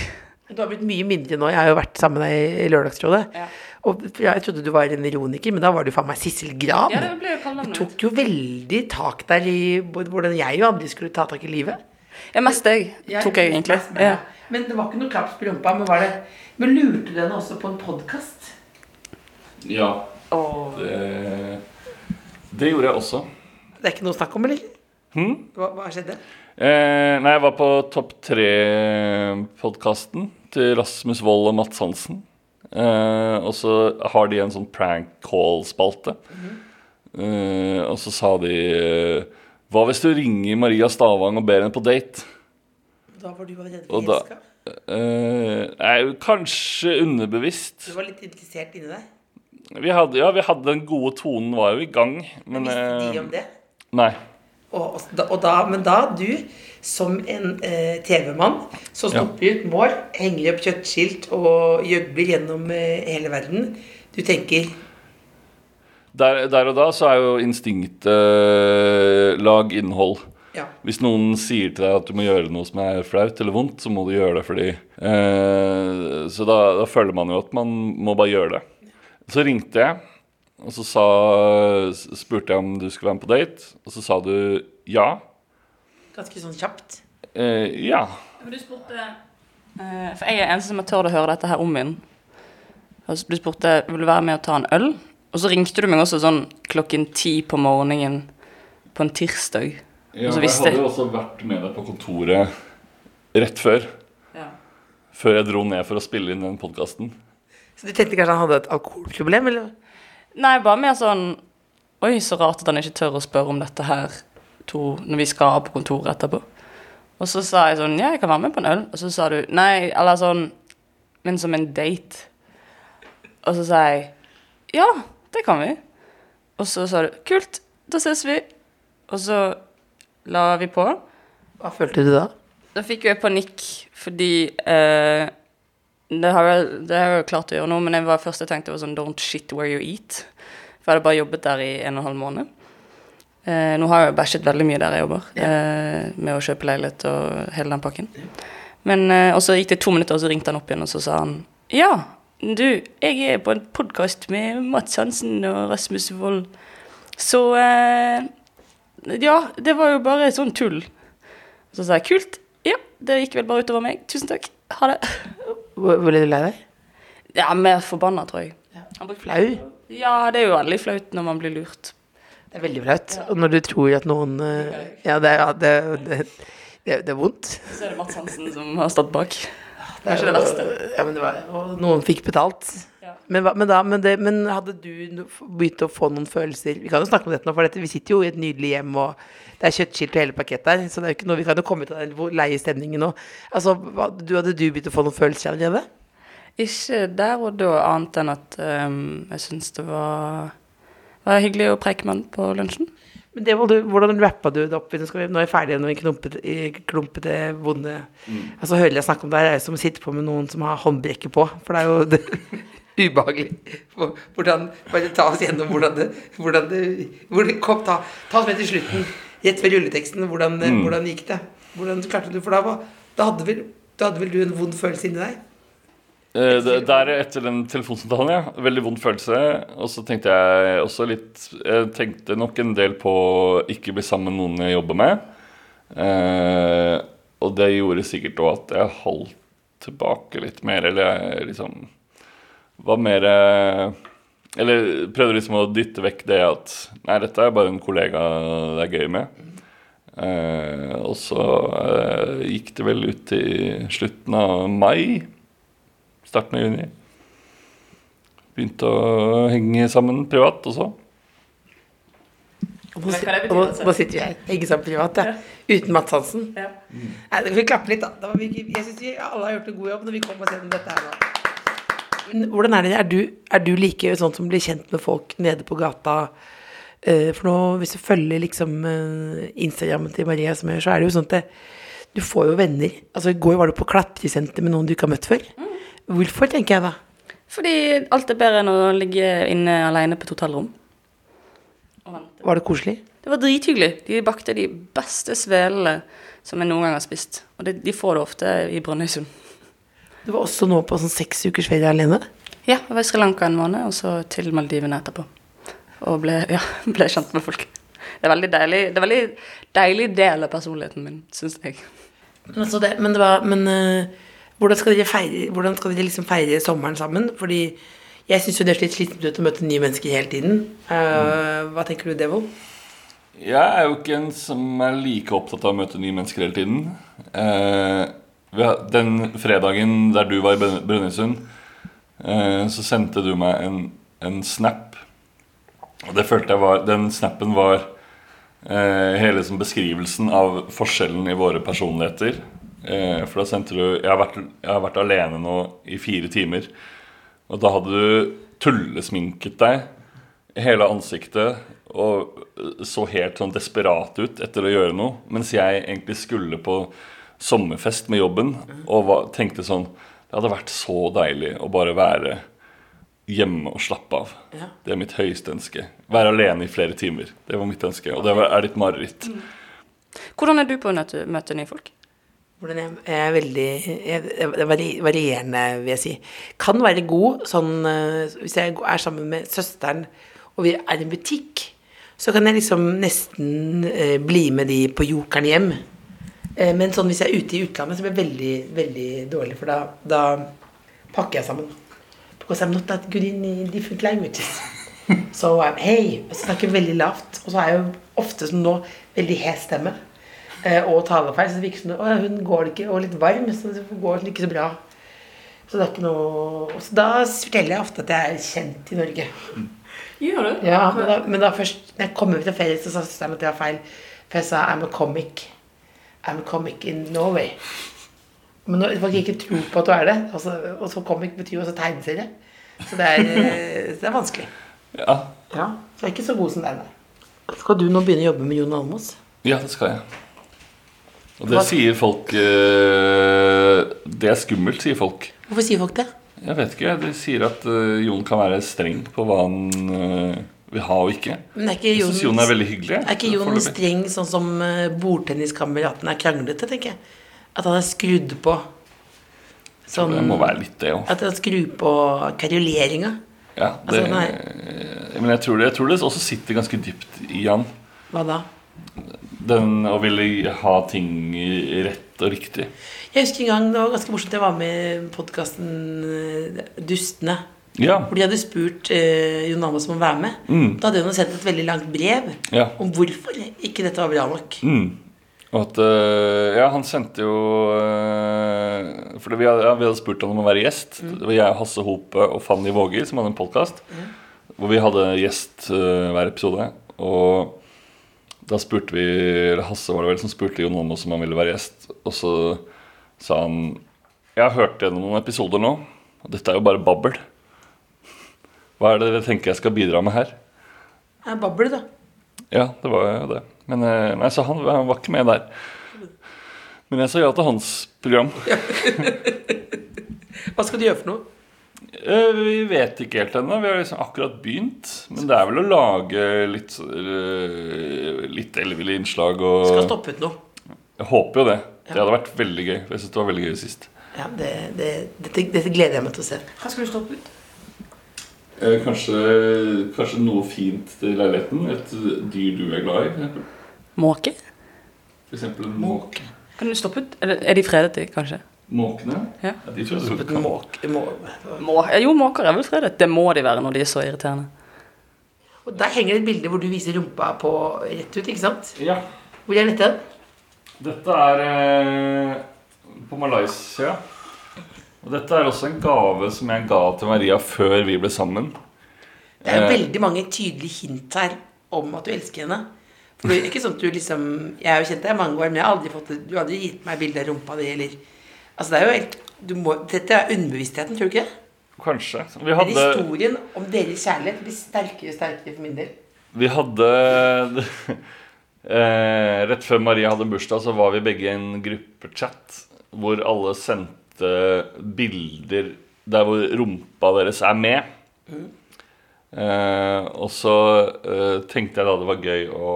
[SPEAKER 6] Du har blitt mye mindre nå. Jeg har jo vært sammen med deg i- i Lørdagsrådet. Og jeg trodde du var en ironiker, men da var du faen meg Sissel Gran.
[SPEAKER 8] Ja, det ble jo kallet
[SPEAKER 6] du
[SPEAKER 8] meg.
[SPEAKER 6] tok jo veldig tak der i både hvordan jeg og andre skulle ta tak i livet.
[SPEAKER 8] Ja, mest deg
[SPEAKER 6] Ja,
[SPEAKER 8] tok jeg egentlig.
[SPEAKER 6] mest meg,
[SPEAKER 8] Ja.
[SPEAKER 6] ja. Men det var ikke noe klaps på rumpa. Men, var det, men lurte du henne også på en podkast?
[SPEAKER 5] Ja. Det, det gjorde jeg også.
[SPEAKER 6] Det er ikke noe snakk om, eller? Hva, hva skjedde?
[SPEAKER 5] Eh, nei, jeg var på Topp tre-podkasten til Rasmus Wold og Mats Hansen. Eh, og så har de en sånn prank call-spalte. eh, og så sa de eh, Hva hvis du ringer Maria Stavang og ber henne på date?
[SPEAKER 6] Da var du allerede
[SPEAKER 5] Og da-
[SPEAKER 6] forelska.
[SPEAKER 5] Eh, nei, kanskje underbevisst.
[SPEAKER 6] Du var litt interessert inni deg.
[SPEAKER 5] Vi hadde, ja, vi hadde den gode tonen, var jo i gang. Men
[SPEAKER 6] Visste de om
[SPEAKER 5] eh,
[SPEAKER 6] det?
[SPEAKER 5] Nei.
[SPEAKER 6] Og, og da, og da, men da du, som en eh, TV-mann, som
[SPEAKER 5] Ja.
[SPEAKER 6] stopper ut mål, henger opp kjøttskilt og gjøgler gjennom eh, hele verden, du tenker
[SPEAKER 5] Der, der og da så er jo instinktet eh, lag innhold.
[SPEAKER 6] ja.
[SPEAKER 5] Hvis noen sier til deg at du må gjøre noe som er flaut eller vondt, så må du gjøre det fordi eh, Så da, da føler man jo at man må bare gjøre det. Så ringte jeg, og så sa, spurte jeg om du skulle være med på date. Og så sa du ja.
[SPEAKER 6] Ganske sånn kjapt.
[SPEAKER 5] Eh, ja.
[SPEAKER 8] Men du spurte eh, For jeg er eneste som har tørt å høre dette her om igjen. Og så Du spurte eh, vil du være med og ta en øl, og så ringte du meg også sånn klokken ti på morgenen på en tirsdag.
[SPEAKER 5] Ja,
[SPEAKER 8] Og så
[SPEAKER 5] jeg
[SPEAKER 8] visste-
[SPEAKER 5] hadde jo også vært med deg på kontoret rett før.
[SPEAKER 8] Ja.
[SPEAKER 5] Før jeg dro ned for å spille inn den podkasten.
[SPEAKER 6] Så du tenkte kanskje han hadde et alkoholproblem? eller?
[SPEAKER 8] Nei, bare mer sånn Oi, så rart at han ikke tør å spørre om dette her to, når vi skal på kontoret etterpå. Og så sa jeg sånn Ja, jeg kan være med på en øl. Og så sa du Nei, eller sånn Men som en date. Og så sa jeg Ja, det kan vi. Og så sa du Kult, da ses vi. Og så la vi på.
[SPEAKER 6] Hva følte du da?
[SPEAKER 8] Da fikk jo jeg panikk, fordi eh, det, har jeg, det har jeg jo klart å gjøre nå, men det var først jeg tenkte var sånn Don't shit where you eat. For jeg hadde bare jobbet der i en og en halv måned. Eh, nå har jeg jo bæsjet veldig mye der jeg jobber, eh, med å kjøpe leilighet og hele den pakken. Men, eh, og så gikk det to minutter, og så ringte han opp igjen, og så sa han Ja, du, jeg er på en podkast med Mats Hansen og Rasmus Wold, så eh, Ja, det var jo bare sånn tull. Så sa jeg kult. Ja, det gikk vel bare utover meg. Tusen takk. Ha det.
[SPEAKER 6] Hvor hvor ble du lei deg?
[SPEAKER 8] Ja, mer forbanna, tror jeg. Han brukte
[SPEAKER 6] Flau?
[SPEAKER 8] Ja, det er jo veldig flaut når man blir lurt.
[SPEAKER 6] Det er veldig flaut. Og når du tror at noen eh, Ja, det er, ja, det, det, det, det er vondt.
[SPEAKER 8] Så er det Mats Hansen som har stått bak.
[SPEAKER 6] Det
[SPEAKER 8] er ikke det verste.
[SPEAKER 6] Ja, men det var, og noen fikk betalt.
[SPEAKER 8] Ja.
[SPEAKER 6] Men, hva- men, da, men, det, men hadde du no- begynt å få noen følelser Vi kan jo snakke om dette nå, for dette, vi sitter jo i et nydelig hjem, og det er kjøttskilt og hele pakket der, så det er jo ikke noe vi kan jo komme ut av den hvor leie stemningen nå. Altså, hva- du, hadde du begynt å få noen følelser allerede?
[SPEAKER 8] Ikke der og da, annet enn at ehm, jeg syns det var, var hyggelig å preike med han på lunsjen.
[SPEAKER 6] Men det, var du- hvordan rappa du det opp? i- Nå, skal vi, nå er jeg ferdig med en klumpete, i klumpete vonde Altså, hører jeg snakke om det her, er det som å sitte på med noen som har håndbrekket på. For det er jo det, ubehagelig. For, hvordan, bare ta oss gjennom hvordan det, hvordan det hvor, kom, ta, ta oss med til slutten. Rett ved rulleteksten. Hvordan, hvordan gikk det? Hvordan klarte du For da, var, da, hadde vel, da hadde vel du en vond følelse inni deg?
[SPEAKER 5] Eh, det- Der etter den telefonsamtalen, ja. Veldig vond følelse. Og så tenkte jeg også litt Jeg tenkte nok en del på å ikke bli sammen med noen jeg jobber med. Eh, og det gjorde sikkert òg at jeg holdt tilbake litt mer, eller jeg liksom var mer eh, Eller prøvde liksom å dytte vekk det at Nei, dette er bare en kollega det er gøy med. Eh, og så eh, gikk det vel ut i slutten av mai starten av juni. Begynte å henge sammen privat også.
[SPEAKER 6] Og nå, og nå, nå sitter vi her, henge sammen privat, ja. uten Mads Hansen. Nei, da kan vi klappe litt, da. da var vi, ikke- jeg syns vi alle har gjort en god jobb når vi kom oss gjennom dette her nå. Men Hvordan er det? Er du, er du like sånn som blir kjent med folk nede på gata? Eh, For nå, hvis du følger liksom eh, Instagrammen til Maria, som jeg gjør, så er det jo sånn at det, du får jo venner. Altså, I går var du på klatresenter med noen du ikke har møtt før. Hvorfor, tenker jeg da?
[SPEAKER 8] Fordi alt er bedre enn å ligge inne alene på et hotellrom. Og vente.
[SPEAKER 6] Var det koselig?
[SPEAKER 8] Det var drithyggelig. De bakte de beste svelene som jeg noen gang har spist. Og de, de får det ofte i Brønnøysund.
[SPEAKER 6] Du var også nå på sånn seks ukers ferie alene.
[SPEAKER 8] Ja, jeg var i Sri Lanka en måned, og så til Maldivene etterpå. Og ble, ja, ble kjent med folk. Det er veldig deilig, det er veldig deilig del av personligheten min, syns jeg.
[SPEAKER 6] Men, altså det, men, det var, men eh, hvordan, skal dere feire, hvordan skal dere liksom feire sommeren sammen? Fordi jeg syns jo det er litt slitsomt ut å møte nye mennesker hele tiden. Eh, Hva tenker du, Devo?
[SPEAKER 5] Jeg er jo ikke en som er like opptatt av å møte nye mennesker hele tiden. Eh, vi har- den fredagen der du var i Brønn- Brønnøysund, eh, så sendte du meg en, en snap. Og det følte jeg var Den snappen var eh, hele som beskrivelsen av forskjellen i våre personligheter. Eh, for da sendte du jeg har, vært, 'Jeg har vært alene nå i fire timer'. Og da hadde du tullesminket deg hele ansiktet og så helt sånn desperat ut etter å gjøre noe. Mens jeg egentlig skulle på sommerfest med jobben og var, tenkte sånn Det hadde vært så deilig å bare være hjemme og slappe av. Det er mitt høyeste ønske. Være alene i flere timer. Det var mitt ønske, og det var- er ditt mareritt.
[SPEAKER 8] Hvordan er du på å møte, møte nye folk?
[SPEAKER 6] Hvordan jeg, jeg er veldig jeg, jeg, vari- Varierende, vil jeg si. Kan være god sånn eh, Hvis jeg er sammen med søsteren, og vi er i en butikk, så kan jeg liksom nesten eh, bli med de på jokeren hjem. Eh, men sånn hvis jeg er ute i utlandet, så blir jeg veldig, veldig dårlig, for da, da pakker jeg sammen. Because I'm not that good in different languages. So I'm hey. Og så snakker jeg veldig lavt. Og så er jeg jo ofte som nå veldig sånn hes stemme. eh, og talefeil. Så det virker som det, «Å, hun går det ikke, og litt varm, så det går det ikke så bra. Så det er ikke noe Så da forteller jeg ofte at jeg er kjent i Norge.
[SPEAKER 8] Gjør du?
[SPEAKER 6] Ja, Men da, men da først når jeg kom over til ferie, så sa søsteren at det var feil. For jeg sa I'm a comic. I'm a comic in Norway. Men når folk ikke tror på at du er det, og så, og så comic betyr jo også tegneserie. Så det er, eh, så det er vanskelig.
[SPEAKER 5] Ja,
[SPEAKER 6] Ja, Så jeg er ikke så god som deg, nei. Skal du nå begynne å jobbe med Jon Almaas?
[SPEAKER 5] ja det skal jeg. Og det sier folk eh, Det er skummelt, sier folk.
[SPEAKER 6] Hvorfor sier folk det?
[SPEAKER 5] Jeg vet ikke. De sier at eh, Jon kan være streng på hva han eh, vil ha og ikke.
[SPEAKER 6] Men er ikke
[SPEAKER 5] Jeg
[SPEAKER 6] Jon,
[SPEAKER 5] syns Jon er veldig hyggelig.
[SPEAKER 6] er ikke Jon
[SPEAKER 5] foreløpig.
[SPEAKER 6] streng sånn som eh, bordtenniskameraten er kranglete, tenker jeg? At han er skrudd på sånn
[SPEAKER 5] Det må være litt det òg.
[SPEAKER 6] At han skrur på karoleringa.
[SPEAKER 5] Ja, det,
[SPEAKER 6] Altså,
[SPEAKER 5] eh,
[SPEAKER 6] nei.
[SPEAKER 5] men jeg tror, det, jeg tror det også sitter ganske dypt i han.
[SPEAKER 6] Hva da?
[SPEAKER 5] Den å ville ha ting rett og riktig.
[SPEAKER 6] Jeg husker en gang, det var ganske morsomt, jeg var med i podkasten Dustene.
[SPEAKER 5] Ja. mm,
[SPEAKER 6] Hvor de hadde spurt eh, Jon Almaas om å være med. Da hadde hun sendt et veldig langt brev
[SPEAKER 5] Ja.
[SPEAKER 6] om hvorfor ikke dette var bra nok.
[SPEAKER 5] Mm. Og at øh, Ja, han sendte jo øh, For vi hadde, ja, vi hadde spurt ham om å være gjest. Det var jeg, Hasse Hope og Fanny Våger som hadde en podkast hvor vi hadde gjest øh, hver episode. Og da spurte vi eller Hasse var det vel som spurte Jon Almaas om han ville være gjest. Og så sa han Jeg har hørt gjennom noen episoder nå, og dette er jo bare babbel. Hva er det dere tenker jeg skal bidra med her?
[SPEAKER 6] Det er babbel, da.
[SPEAKER 5] Ja, det var jo det. Men eh, nei, så han, han var ikke med der. Men jeg sa ja til hans program.
[SPEAKER 6] Hva skal du gjøre for noe?
[SPEAKER 5] Eh, Vi vet ikke helt ennå. Vi har liksom akkurat begynt. Men det er vel å lage litt, eh, litt elleville innslag og
[SPEAKER 6] Skal stoppe ut noe.
[SPEAKER 5] Jeg håper jo det. Det hadde vært veldig gøy. Jeg syns det var veldig gøy sist.
[SPEAKER 6] Ja, det, det, dette, dette gleder jeg meg til å se. Hva skal du stoppe ut?
[SPEAKER 5] Eh, Kanskje, kanskje noe fint til leiligheten. Et dyr du er glad i, for eksempel.
[SPEAKER 8] Måke?
[SPEAKER 5] For eksempel en måke.
[SPEAKER 8] Kan du stoppe ut? Eller er de fredet, de, kanskje?
[SPEAKER 5] Måkene?
[SPEAKER 8] Ja.
[SPEAKER 5] de tror jeg du kan.
[SPEAKER 6] Måke, må,
[SPEAKER 8] Må, jo, måker er vel fredet. Det må de være når de er så irriterende.
[SPEAKER 6] og der henger det et bilde hvor du viser rumpa på rett ut, ikke sant?
[SPEAKER 5] Ja.
[SPEAKER 6] Hvor er dette?
[SPEAKER 5] Dette er eh, på Malaysia. Og dette er også en gave som jeg ga til Maria før vi ble sammen.
[SPEAKER 6] Det er
[SPEAKER 5] Eh.
[SPEAKER 6] veldig mange tydelige hint her om at du elsker henne. For det er ikke sånn at du liksom Jeg er jo kjent deg i mange år, men jeg har aldri fått det. Du har aldri gitt meg bilde av rumpa di, eller Altså, det er jo helt du må, Dette er underbevisstheten, tror du ikke? det?
[SPEAKER 5] Kanskje. Vi
[SPEAKER 6] Men
[SPEAKER 5] hadde,
[SPEAKER 6] Historien om deres kjærlighet blir sterkere og sterkere for min del.
[SPEAKER 5] vi hadde eh, Rett før Maria hadde bursdag, så var vi begge i en gruppechat hvor alle sendte bilder der hvor rumpa deres er med. Eh, og så eh, tenkte jeg da det var gøy å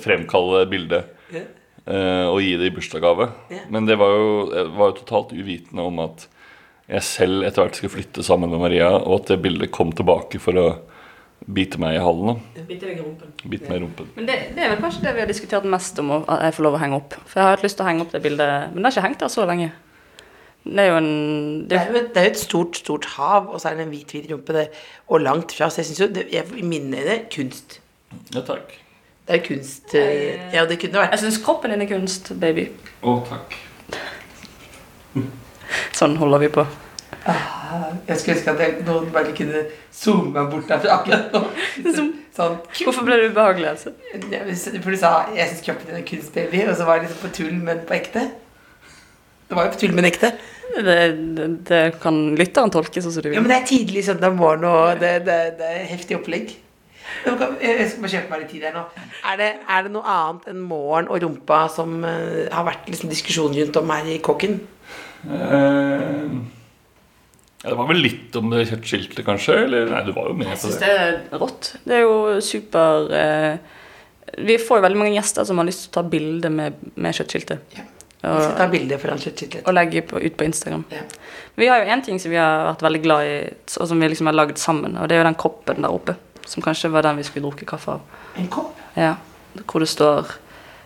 [SPEAKER 5] fremkalle bildet.
[SPEAKER 6] Ja.
[SPEAKER 5] eh, og gi det i bursdagsgave.
[SPEAKER 6] Ja.
[SPEAKER 5] Men det var jo, jeg var jo totalt uvitende om at jeg selv etter hvert skulle flytte sammen med Maria, og at det bildet kom tilbake for å bite meg i halen. da. Bite meg i rumpen.
[SPEAKER 8] Men det, det er vel kanskje det vi har diskutert mest om, å- at jeg får lov å henge opp. For jeg har hatt lyst til å henge opp det bildet, men det har ikke hengt der så lenge. Det er jo en
[SPEAKER 6] Det
[SPEAKER 8] det,
[SPEAKER 6] er jo et, det er jo et stort, stort hav, og så er det en hvit, hvit rumpe, det, og langt fra. Så jeg syns jo det, jeg, I mine øyne kunst.
[SPEAKER 5] Ja, takk.
[SPEAKER 6] Det er jo kunst eh, Ja, det kunne vært
[SPEAKER 8] Jeg syns kroppen din er kunst, baby.
[SPEAKER 5] Å, takk.
[SPEAKER 8] Sånn holder vi på.
[SPEAKER 6] Jeg skulle ønske at jeg, noen bare kunne zoome meg bort derfra akkurat nå.
[SPEAKER 8] Zoom.
[SPEAKER 6] Sånn.
[SPEAKER 8] Hvorfor ble det ubehagelig, altså?
[SPEAKER 6] Ja, men så- For du sa 'jeg syns kroppen din er kunst, baby', og så var det liksom på tull, men på ekte. Det var jo på tull, men ekte.
[SPEAKER 8] Det, det, det kan lytteren tolke sånn som du
[SPEAKER 6] Ja,
[SPEAKER 8] vil.
[SPEAKER 6] Men det er tidlig søndag morgen, og det, det, det er heftig opplegg. Nå kan- Jeg skal bare kjøpe meg litt tid her nå. Er det, er det noe annet enn morgen og rumpa som eh, har vært liksom diskusjon rundt om her i Kåken?
[SPEAKER 5] Eh, ja, det var vel litt om det kjøttskiltet, kanskje? Eller nei, du var jo med
[SPEAKER 8] Jeg
[SPEAKER 5] på
[SPEAKER 8] syns
[SPEAKER 5] det.
[SPEAKER 8] det er rått. Det er jo super eh, Vi får jo veldig mange gjester som har lyst til å ta bilde med, med kjøttskiltet.
[SPEAKER 6] Vi skal
[SPEAKER 8] Og,
[SPEAKER 6] ta bilde foran kjøttskiltet.
[SPEAKER 8] og legge på, ut på Instagram.
[SPEAKER 6] Ja.
[SPEAKER 8] Vi har jo én ting som vi har vært veldig glad i, og som vi liksom har lagd sammen, og det er jo den koppen der oppe. Som kanskje var den vi skulle drukke kaffe av.
[SPEAKER 6] En kopp?
[SPEAKER 8] Ja, Hvor det står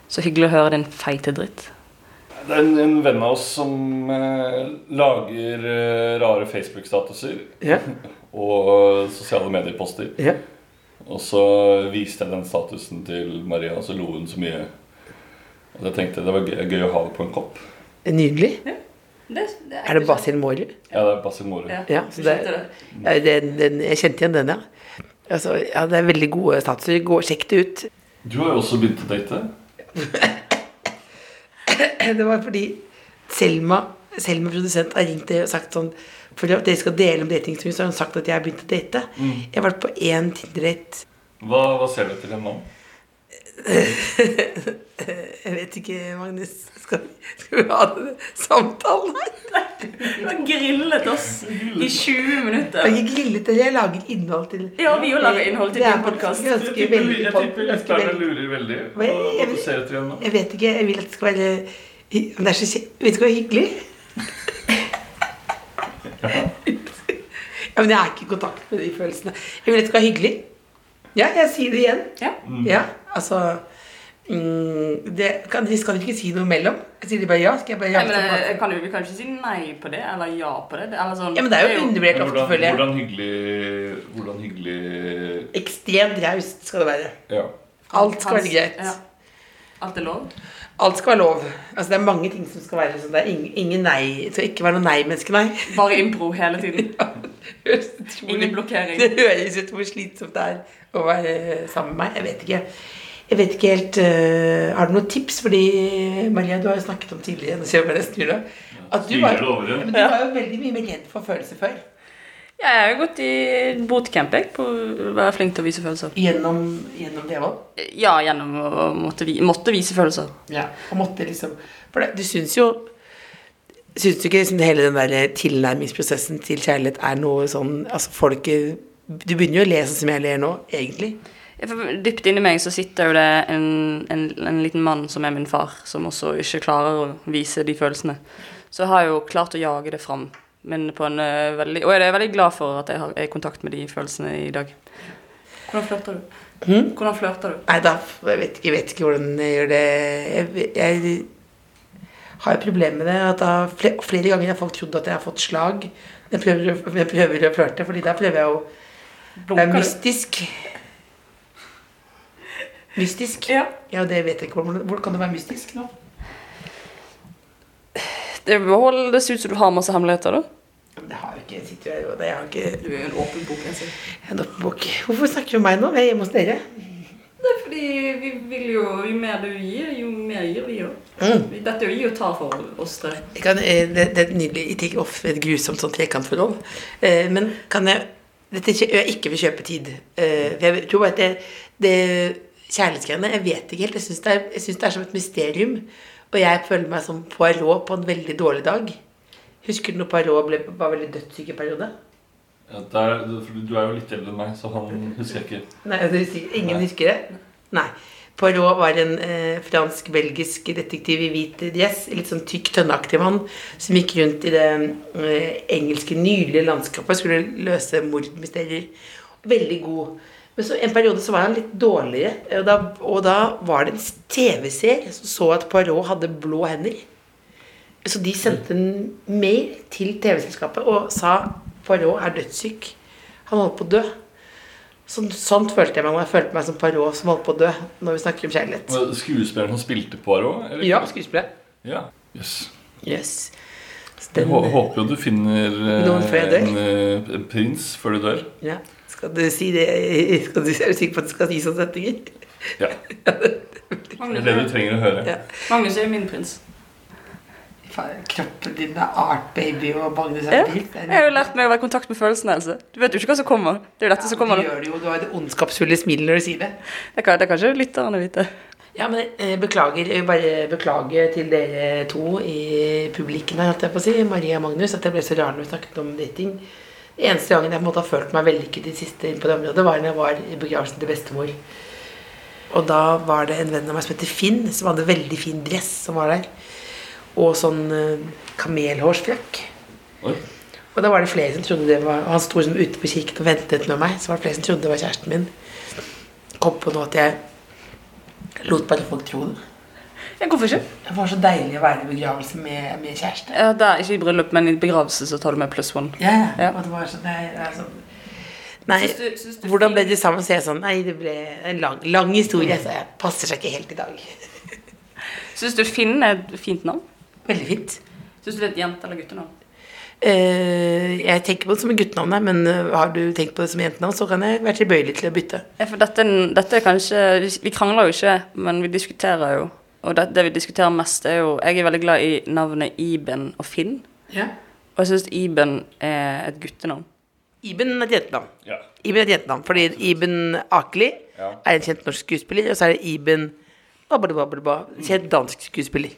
[SPEAKER 8] 'Så hyggelig å høre din feite dritt'.
[SPEAKER 5] Det er en, en venn av oss som eh, lager eh, rare Facebook-statuser
[SPEAKER 6] Ja.
[SPEAKER 5] og sosiale medieposter.
[SPEAKER 6] ja.
[SPEAKER 5] Og så viste jeg den statusen til Maria, og så lo hun så mye. Jeg tenkte det var gøy, gøy å ha det på en kopp.
[SPEAKER 6] Nydelig.
[SPEAKER 8] Det, det
[SPEAKER 6] Er det Basil Mori?
[SPEAKER 5] Ja, det er Basil Mori.
[SPEAKER 8] Ja,
[SPEAKER 6] Ja, så
[SPEAKER 8] du
[SPEAKER 6] det,
[SPEAKER 8] skjønte det.
[SPEAKER 6] ja, den, den, jeg kjente igjen den, ja. Altså, ja, det er veldig gode statuer. Gå, sjekk det ut.
[SPEAKER 5] Du har jo også begynt å date.
[SPEAKER 6] Det var fordi Selma, Selma produsent har ringt og sagt sånn For at dere skal dele om datinghistorien, så har hun sagt at jeg har begynt å date. Jeg har vært på én Tinder-date.
[SPEAKER 5] Hva, hva ser du til henne nå?
[SPEAKER 6] Jeg vet ikke, Magnus. Skal, vi- skal vi ha den samtalen her?
[SPEAKER 8] Han grillet oss i 20
[SPEAKER 6] Jeg
[SPEAKER 8] minutter.
[SPEAKER 6] har ikke grillet dere, jeg lager innhold til
[SPEAKER 8] Ja, vi jo lager innhold til
[SPEAKER 6] Det er
[SPEAKER 8] din podcast.
[SPEAKER 6] faktisk
[SPEAKER 5] Jeg
[SPEAKER 6] Ganske
[SPEAKER 5] tipper,
[SPEAKER 6] veldig
[SPEAKER 5] jeg
[SPEAKER 6] pod-
[SPEAKER 5] tipper
[SPEAKER 6] ganske
[SPEAKER 5] lytterne
[SPEAKER 6] veldig-
[SPEAKER 5] lurer veldig.
[SPEAKER 6] Hva-
[SPEAKER 5] Hva,
[SPEAKER 6] jeg-
[SPEAKER 5] hva ser du til henne nå?
[SPEAKER 6] Jeg vet ikke. Jeg vil at det skal være hy- Om det er så kje- Vet du hva hyggelig? ja, men jeg er ikke i kontakt med de følelsene. Jeg vil at det skal være hyggelig. Ja, jeg sier det igjen.
[SPEAKER 8] Ja.
[SPEAKER 6] Ja, altså mm, det, kan, de skal ikke si noe mellom? Sier de bare ja? Skal jeg bare ja?
[SPEAKER 8] Nei, men eh, jeg, jeg kan jo, Vi kan jo ikke si nei på det, eller ja på det. det eller sånn,
[SPEAKER 6] ja, men det er jo undervurdert
[SPEAKER 5] Men
[SPEAKER 6] ofte,
[SPEAKER 5] Hvordan,
[SPEAKER 6] føler jeg.
[SPEAKER 5] hvordan hyggelig Hvordan hyggelig
[SPEAKER 6] Ekstremt raust skal det være.
[SPEAKER 5] Ja.
[SPEAKER 6] Alt skal være
[SPEAKER 8] hans-
[SPEAKER 6] greit.
[SPEAKER 8] ja. Alt er lov.
[SPEAKER 6] Alt skal være lov. Altså, det er mange ting som skal være sånn. Det er ingen, ingen nei. Det skal ikke være noe nei-menneske, nei.
[SPEAKER 8] Bare impro hele tiden.
[SPEAKER 6] Høres utrolig-
[SPEAKER 8] Ingen blokkering.
[SPEAKER 6] Det høres ut hvor slitsomt det er å være sammen med meg. Jeg vet ikke. Jeg vet ikke helt øh, Har du noen tips? Fordi Maria, du har jo snakket om tidligere Nå ser jeg bare jeg snur deg. At du var,
[SPEAKER 5] Styrer
[SPEAKER 6] Ja,
[SPEAKER 5] over det.
[SPEAKER 6] men du var jo veldig mye mer redd for følelser før.
[SPEAKER 8] Ja, jeg har jo gått i bootcamp jeg, på å være flink til å vise følelser.
[SPEAKER 6] Gjennom, gjennom det òg.
[SPEAKER 8] Ja, gjennom å måtte, vi, måtte vise følelser.
[SPEAKER 6] Ja. Og måtte liksom For det, du syns jo Syns du ikke liksom hele den der tilnærmingsprosessen til kjærlighet er noe sånn Altså, folk Du begynner jo å le sånn som jeg ler nå, egentlig.
[SPEAKER 8] Ja, for Dypt inni meg så sitter jo det en, en, en liten mann som er min far, som også ikke klarer å vise de følelsene. Så jeg har jo klart å jage det fram. Men på en eh, veldig, og jeg er veldig glad for at jeg har er i kontakt med de følelsene i dag. Hvordan flørter du? Hvordan flørter du?
[SPEAKER 6] Nei da, jeg vet, ikke- jeg vet ikke hvordan jeg gjør det. Jeg, jeg har et problem med det. At da, flere, flere ganger har folk trodd at jeg har fått slag. Jeg prøver, å- jeg prøver å flørte, fordi da prøver jeg å Det er
[SPEAKER 8] Blunker du?
[SPEAKER 6] mystisk. Mystisk?
[SPEAKER 8] Ja.
[SPEAKER 6] Ja, det vet jeg ikke. Hvordan, hvordan kan det være mystisk nå?
[SPEAKER 8] Det holdes ut som du har masse hemmeligheter, da.
[SPEAKER 6] Ja, men Det har jeg ikke. Jeg sitter jo her og det- jeg har ikke
[SPEAKER 8] Du er jo en åpen bok. Jeg
[SPEAKER 6] en oppbok. Hvorfor snakker du om meg nå? Jeg er hjemme hos dere.
[SPEAKER 8] Det er fordi vi vil jo Jo mer du gir, jo mer gir vi jo. Mm. Dette er jo gi og ta for oss tre.
[SPEAKER 6] Jeg kan, eh, det, det er et nydelig ikke off, et grusomt sånn trekantforhold. Eh, Men kan jeg Dette kjø- jeg ikke vil kjøpe tid. Eh, For jeg tror bare at det, det kjærlighetsgreiene Jeg vet ikke helt. Jeg syns det, er- jeg synes det er som et mysterium. Og jeg føler meg som Poirot på en veldig dårlig dag. Husker du når Poirot ble, var veldig dødssyk i periode?
[SPEAKER 5] Ja, det er, for du er jo litt eldre enn meg, så han husker jeg ikke.
[SPEAKER 6] Nei, det husker- ingen
[SPEAKER 5] Nei.
[SPEAKER 6] husker det? Nei. Poirot var en eh, fransk-belgisk detektiv i hvit dress. Litt sånn tykk, tønneaktig mann som gikk rundt i det eh, engelske nydelige landskapet og skulle løse mordmysterier. Veldig god. Men så en periode så var han litt dårligere. Og da, og da var det en TV-seer som så at Poirot hadde blå hender. Så de sendte en mail til TV-selskapet og sa Poirot er dødssyk. Han holdt på å dø. Sånn, sånn følte jeg meg når jeg følte meg som Poirot som holdt på å dø. Når vi snakker om kjærlighet.
[SPEAKER 5] Men Skuespilleren som spilte Poirot? eller?
[SPEAKER 6] Ja, skuespiller.
[SPEAKER 5] ja. Yes.
[SPEAKER 6] Yes. Så
[SPEAKER 5] Jeg
[SPEAKER 6] den,
[SPEAKER 5] hå- håper jo du finner eh,
[SPEAKER 6] Noen før jeg dør.
[SPEAKER 5] en eh, en prins før du dør.
[SPEAKER 6] ja. Skal du si det skal du, Er du sikker på at du skal si sånne setninger?
[SPEAKER 5] Ja. Det er det du trenger å høre.
[SPEAKER 6] Ja.
[SPEAKER 8] Magnus er jo min prins.
[SPEAKER 6] Faen, Kroppen din er art, baby, og Magnus
[SPEAKER 8] Ja.
[SPEAKER 6] er vilt.
[SPEAKER 8] Jeg har jo lært meg å være i kontakt med følelsene. Else. Du vet jo ikke hva som kommer. Det er jo dette som kommer
[SPEAKER 6] Du
[SPEAKER 8] nå.
[SPEAKER 6] gjør det jo, du har det ondskapsfulle smilet når du sier det.
[SPEAKER 8] Det kan, det kan ikke lytterne vite.
[SPEAKER 6] Ja, men eh, beklager, jeg vil bare beklage til dere to i publikken her, holdt jeg på å si, Maria og Magnus, at jeg ble så rar når vi snakket om dating. Den eneste gangen jeg på en måte har følt meg vellykket i det siste på det området, var når jeg var i begravelsen til bestemor. Og da var det en venn av meg som heter Finn, som hadde veldig fin dress som var der. Og sånn eh, kamelhårsfrakk.
[SPEAKER 5] Oi.
[SPEAKER 6] Og da var det flere som trodde det var Og han sto liksom ute på kirken og ventet med meg. Så var det flere som trodde det var kjæresten min. Kom på nå at jeg lot bare folk tro det.
[SPEAKER 8] Ja, hvorfor ikke?
[SPEAKER 6] Det var så deilig å være i begravelse med, med kjæreste.
[SPEAKER 8] Ja, det er ikke i bryllup, men i begravelse så tar du med pluss one.
[SPEAKER 6] Ja,
[SPEAKER 8] Ja.
[SPEAKER 6] Og det var sånn, det er sånn Nei,
[SPEAKER 8] Syns du- syns du
[SPEAKER 6] hvordan
[SPEAKER 8] Finn-
[SPEAKER 6] ble det sammen? Så jeg sånn Nei, det ble en lang, lang historie, så jeg passer seg ikke helt i dag.
[SPEAKER 8] Syns du Finn er et fint navn?
[SPEAKER 6] Veldig fint.
[SPEAKER 8] Syns du det er et jente- eller guttenavn?
[SPEAKER 6] Eh, jeg tenker på det som et guttenavn, her, men eh, har du tenkt på det som jentenavn, så kan jeg være tilbøyelig til å bytte.
[SPEAKER 8] Ja, for dette, dette er kanskje vi- Vi krangler jo ikke, men vi diskuterer jo. Og det, det vi diskuterer mest, er jo Jeg er veldig glad i navnet Iben og Finn.
[SPEAKER 6] Ja.
[SPEAKER 8] Og jeg syns Iben er et guttenavn.
[SPEAKER 6] Iben er et jentenavn.
[SPEAKER 5] Ja.
[SPEAKER 6] Iben er et jentenavn, fordi Iben Akeli
[SPEAKER 5] Ja.
[SPEAKER 6] er en kjent norsk skuespiller, og så er det Iben Babadabababa, kjent dansk skuespiller.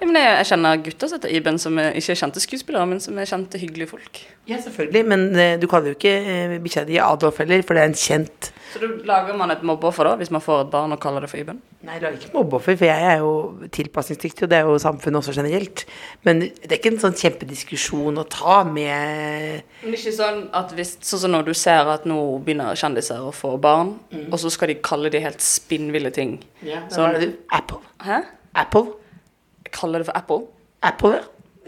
[SPEAKER 8] Ja, men jeg, jeg kjenner gutter som heter Iben, som er, ikke er kjente skuespillere, men som er kjente, hyggelige folk.
[SPEAKER 6] Ja, selvfølgelig, men eh, du kaller jo ikke eh, bikkja di Adolf heller, for det er en kjent
[SPEAKER 8] Så da lager man et mobbeoffer, da, hvis man får et barn og kaller det for Iben?
[SPEAKER 6] Nei, jeg lager ikke mobbeoffer, for jeg er jo tilpasningsdyktig, og det er jo samfunnet også generelt. Men det er ikke en sånn kjempediskusjon å ta med
[SPEAKER 8] Men det er ikke sånn at hvis Sånn som når du ser at nå begynner kjendiser å få barn, og så skal de kalle de helt spinnville ting.
[SPEAKER 6] Så
[SPEAKER 8] Sånn.
[SPEAKER 6] er det Apple.
[SPEAKER 8] Hæ?
[SPEAKER 6] Apple.
[SPEAKER 8] Kaller det for Apple?
[SPEAKER 6] Apple, ja.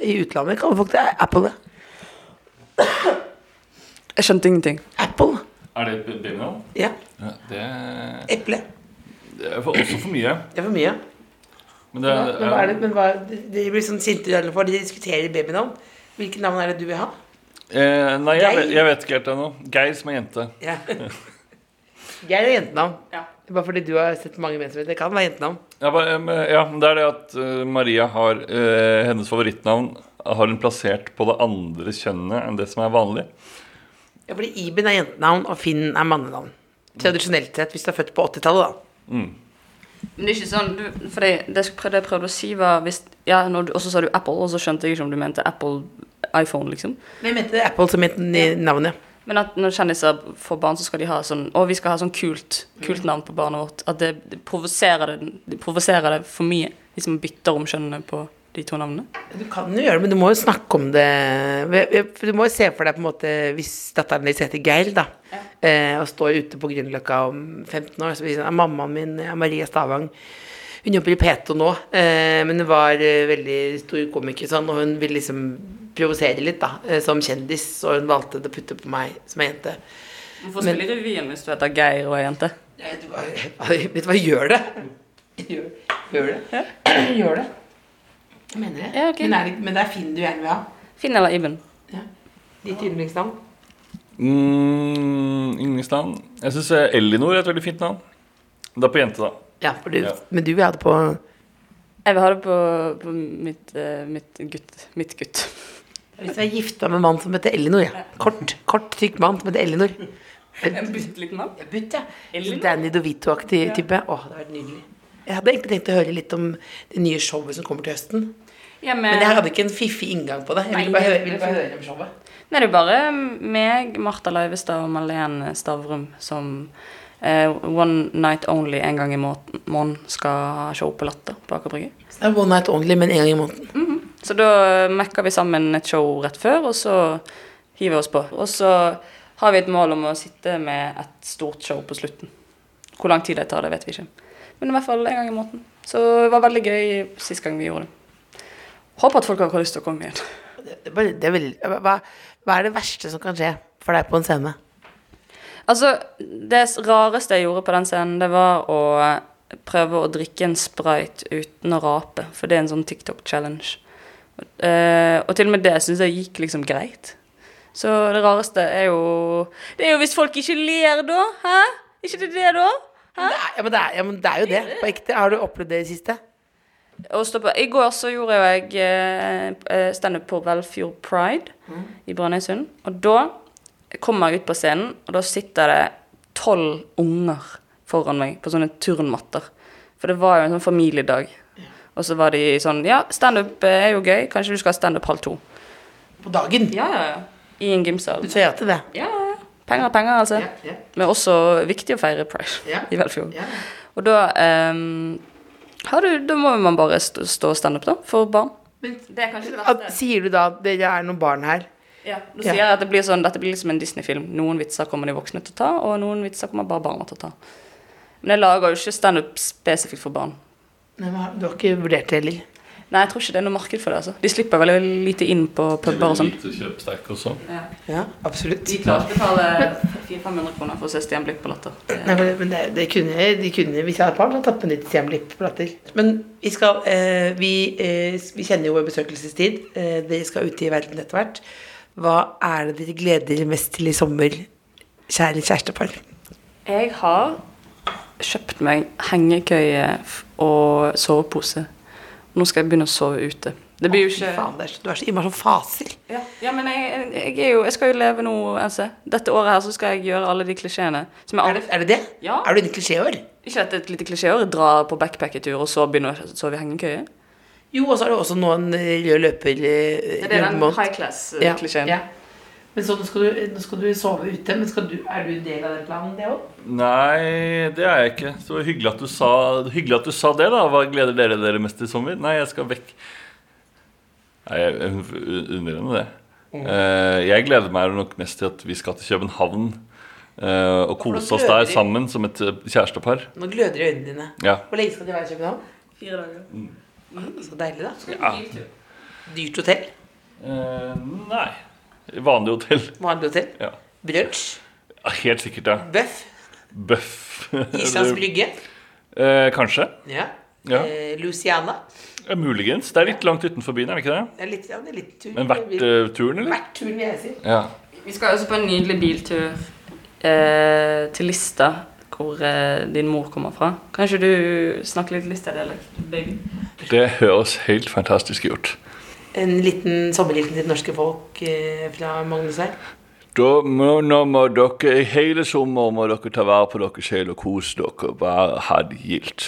[SPEAKER 6] I utlandet kaller folk det Apple. ja.
[SPEAKER 8] Jeg skjønte ingenting.
[SPEAKER 6] Apple.
[SPEAKER 5] Er det et baby-navn?
[SPEAKER 6] Ja.
[SPEAKER 5] Ja, det,
[SPEAKER 6] Eple.
[SPEAKER 5] det er for, også for mye.
[SPEAKER 6] Det er for mye.
[SPEAKER 5] Men det,
[SPEAKER 6] Men hva er det, men hva, de blir sånn sinte i alle fall, de diskuterer babynavn. Hvilke navn er det du vil ha?
[SPEAKER 5] Eh, nei, jeg,
[SPEAKER 6] Geir.
[SPEAKER 5] vet- jeg vet ikke helt ennå. Geir som er jente.
[SPEAKER 6] Ja. Geir er jentenavn.
[SPEAKER 8] Ja.
[SPEAKER 6] Bare fordi du har sett mange menn som heter det. Kan være jentenavn.
[SPEAKER 5] Ja, bare, em, ja, men det er det at eh, Maria har eh, hennes favorittnavn har hun plassert på det andre kjønnet enn det som er vanlig.
[SPEAKER 6] Ja, fordi Iben er jentenavn, og Finn er mannenavn. Tradisjonelt sett, hvis du er født på 80-tallet, da.
[SPEAKER 8] Men det er ikke sånn du, fordi Det jeg prøvde, det jeg prøvde å si, var hvis Ja, når du, og så sa du Apple, og så skjønte jeg ikke om du mente Apple iPhone, liksom.
[SPEAKER 6] Men jeg mente Apple som het i navnet.
[SPEAKER 8] Men at når kjendiser får barn, så skal de ha sånn Å, vi skal ha sånn kult, kult navn på barnet vårt. At det, det, provoserer, det, det provoserer det for mye hvis man bytter om kjønnene på de to navnene.
[SPEAKER 6] Du kan jo gjøre det, men du må jo snakke om det. For Du må jo se for deg på en måte hvis datteren din heter Geir, da. eh, Og står ute på Grünerløkka om 15 år, så blir det sånn «Ja, Mammaen min er Maria Stavang. Hun jobber i P2 nå, eh, men hun var eh, veldig stor komiker sånn, og hun ville liksom provosere litt, da. eh, Som kjendis, og hun valgte å putte på meg som ei jente.
[SPEAKER 8] Hvorfor spille i revyen hvis du heter Geir og er jente?
[SPEAKER 6] Nei, du hva- Vet du hva, gjør det! Gjør, gjør det. Gjør det. Jeg mener det.
[SPEAKER 8] Ja, ok.
[SPEAKER 6] men, er det men det er Finn du gjerne vil ha.
[SPEAKER 8] Finn eller Iben?
[SPEAKER 6] Ditt yndlingsnavn.
[SPEAKER 5] Mm, Yndlingsnavn? Jeg syns Elinor er et veldig fint navn. Det er på jente, da.
[SPEAKER 6] Ja, for du,
[SPEAKER 5] Ja.
[SPEAKER 6] men du vil ha det på
[SPEAKER 8] Jeg vil ha det på, på mitt, eh, mitt gutt. Mitt gutt.
[SPEAKER 6] Hvis du er gifta med en mann som heter Ellinor, ja. Kort, kort tykk mann som heter Ellinor.
[SPEAKER 8] En bitte liten navn?
[SPEAKER 6] Ja, Bytt, ja.
[SPEAKER 8] Ellinor?
[SPEAKER 6] Så Danny DeVito-aktig type. Åh, det hadde vært nydelig. Jeg hadde egentlig tenkt å høre litt om det nye showet som kommer til høsten.
[SPEAKER 8] Ja, men,
[SPEAKER 6] Men jeg hadde ikke en fiffig inngang på det. Jeg ville
[SPEAKER 8] Nei,
[SPEAKER 6] bare høre,
[SPEAKER 8] det-
[SPEAKER 6] ville bare høre om showet.
[SPEAKER 8] Nei, det er jo bare meg, Martha Leivestad og Malene Stavrum som eh, One Night Only en gang i må- måneden skal ha show på Latter på Aker Brygge.
[SPEAKER 6] Så det er one night only, men en gang i måneden.
[SPEAKER 8] Så da mekker vi sammen et show rett før, og så hiver vi oss på. Og så har vi et mål om å sitte med et stort show på slutten. Hvor lang tid det tar, det vet vi ikke. Men i hvert fall en gang i måneden. Så det var veldig gøy sist gang vi gjorde det. Håper at folk har lyst til å komme igjen.
[SPEAKER 6] Det, det, er bare- det er veldig- hva, hva er det verste som kan skje for deg på en scene?
[SPEAKER 8] Altså, det rareste jeg gjorde på den scenen, det var å prøve å drikke en sprite uten å rape, for det er en sånn TikTok-challenge. Eh, og til og med det syns jeg gikk liksom greit. Så det rareste er jo Det er jo hvis folk ikke ler, da. Hæ? Ikke det det, da?
[SPEAKER 6] Det er, ja, men det er, ja, men det er jo det. På ekte. Har du opplevd det i det siste?
[SPEAKER 8] Og stå på. I går så gjorde jo jeg eh, eh, standup på Velfjord Pride i Brønnøysund. Og da kommer jeg ut på scenen, og da sitter det tolv unger foran meg på sånne turnmatter. For det var jo en sånn familiedag. Og så var de sånn Ja, standup eh, er jo gøy, kanskje du skal ha standup halv to.
[SPEAKER 6] På dagen?
[SPEAKER 8] Ja, ja, ja. I en gymsal.
[SPEAKER 6] Du sa ja til det?
[SPEAKER 8] Ja, ja, ja. Penger er penger, altså.
[SPEAKER 6] ja.
[SPEAKER 8] Men også viktig å feire Pride
[SPEAKER 6] Ja.
[SPEAKER 8] i Velfjord.
[SPEAKER 6] Ja.
[SPEAKER 8] Og da ehm, har du, Da må man bare stå, stå standup, da, for barn. det er kanskje det
[SPEAKER 6] At, sier du da at det er noen barn her?
[SPEAKER 8] Ja, da sier jeg at det blir sånn, dette blir liksom en Disney-film. Noen vitser kommer de voksne til å ta, og noen vitser kommer bare barna til å ta. Men jeg lager jo ikke standup spesifikt for barn.
[SPEAKER 6] Nei, men har- Du har ikke vurdert det heller?
[SPEAKER 8] Nei, jeg tror ikke det er noe marked for det. altså. De slipper veldig lite inn på puber og sånn.
[SPEAKER 5] Lite kjøpsterk og sånn.
[SPEAKER 6] Ja, absolutt.
[SPEAKER 8] De klarer ikke å betale 400-500 kroner for å se Stian Blipp på Latter.
[SPEAKER 6] Nei, men men det, det kunne, de kunne, hvis jeg hadde barn, så tappet de til hjemlipp-plater. Men vi skal eh, vi, eh, vi kjenner jo vår besøkelsestid. Eh, dere skal ut i verden etter hvert. Hva er det dere gleder dere mest til i sommer, kjære kjærestepar?
[SPEAKER 8] Jeg har kjøpt meg hengekøye f- og sovepose. Nå skal jeg begynne å sove ute. Det blir jo
[SPEAKER 6] Fy
[SPEAKER 8] ikke
[SPEAKER 6] faen, det er så, du er så innmari sånn faser.
[SPEAKER 8] Ja, ja men jeg, jeg, er jo, jeg skal jo leve nå, NC. Dette året her så skal jeg gjøre alle de klisjeene. Som jeg
[SPEAKER 6] Er
[SPEAKER 8] aldri,
[SPEAKER 6] det er det? det?
[SPEAKER 8] Ja.
[SPEAKER 6] Er du inne i klisjéår?
[SPEAKER 8] ikke dette er et lite klisjéår? Dra på backpackertur og så begynne å sove i hengekøye?
[SPEAKER 6] Jo, og så er det også nå en eh, rød løper eh,
[SPEAKER 8] Det er
[SPEAKER 6] rundt
[SPEAKER 8] den
[SPEAKER 6] måned.
[SPEAKER 8] high eh, class-klisjeen.
[SPEAKER 6] Men så nå skal, du, nå skal du sove ute, men skal du, er du del av den planen, det òg?
[SPEAKER 5] Nei, det er jeg ikke. Så hyggelig at du sa, hyggelig at du sa det, da. Hva gleder dere dere mest i sommer? Nei, jeg skal vekk. Nei, jeg jeg unner henne det.
[SPEAKER 6] Mm.
[SPEAKER 5] Eh, jeg gleder meg nok mest til at vi skal til København eh, og
[SPEAKER 6] for da
[SPEAKER 5] kose oss
[SPEAKER 6] gløder
[SPEAKER 5] der
[SPEAKER 6] de.
[SPEAKER 5] sammen som et eh, kjærestepar.
[SPEAKER 6] Nå gløder øynene dine.
[SPEAKER 5] Ja.
[SPEAKER 6] Hvor lenge skal de være i København? Fire dager. Så deilig, da.
[SPEAKER 5] ja.
[SPEAKER 6] Dyrt hotell.
[SPEAKER 5] Eh, nei. Vanlig hotell.
[SPEAKER 6] Vanlig hotell.
[SPEAKER 5] Ja.
[SPEAKER 6] Brunsj.
[SPEAKER 5] Ja, Helt sikkert, ja.
[SPEAKER 6] Bøff.
[SPEAKER 5] Bøff.
[SPEAKER 6] Islands Brygge.
[SPEAKER 5] Eh, kanskje.
[SPEAKER 6] Ja.
[SPEAKER 5] Ja.
[SPEAKER 6] Eh, Luciana.
[SPEAKER 5] Eh, Muligens. Det er litt langt utenfor byen, er det ikke det?
[SPEAKER 6] Det er litt, ja, det er litt tur.
[SPEAKER 5] Men verdt eh, turen, eller?
[SPEAKER 6] Verdt turen, vil jeg si.
[SPEAKER 5] Ja.
[SPEAKER 8] Vi skal også på en nydelig biltur eh, til Lista, hvor eh, din mor kommer fra. Kanskje du snakker litt Lista-dialekt, baby?
[SPEAKER 5] Det høres helt fantastisk ut.
[SPEAKER 6] En liten sommerhilsen til det norske folk eh, fra Magnus her.
[SPEAKER 5] Da må, nå må dere i hele sommer må dere ta vare på dere selv og kose dere. Bare ha det gildt.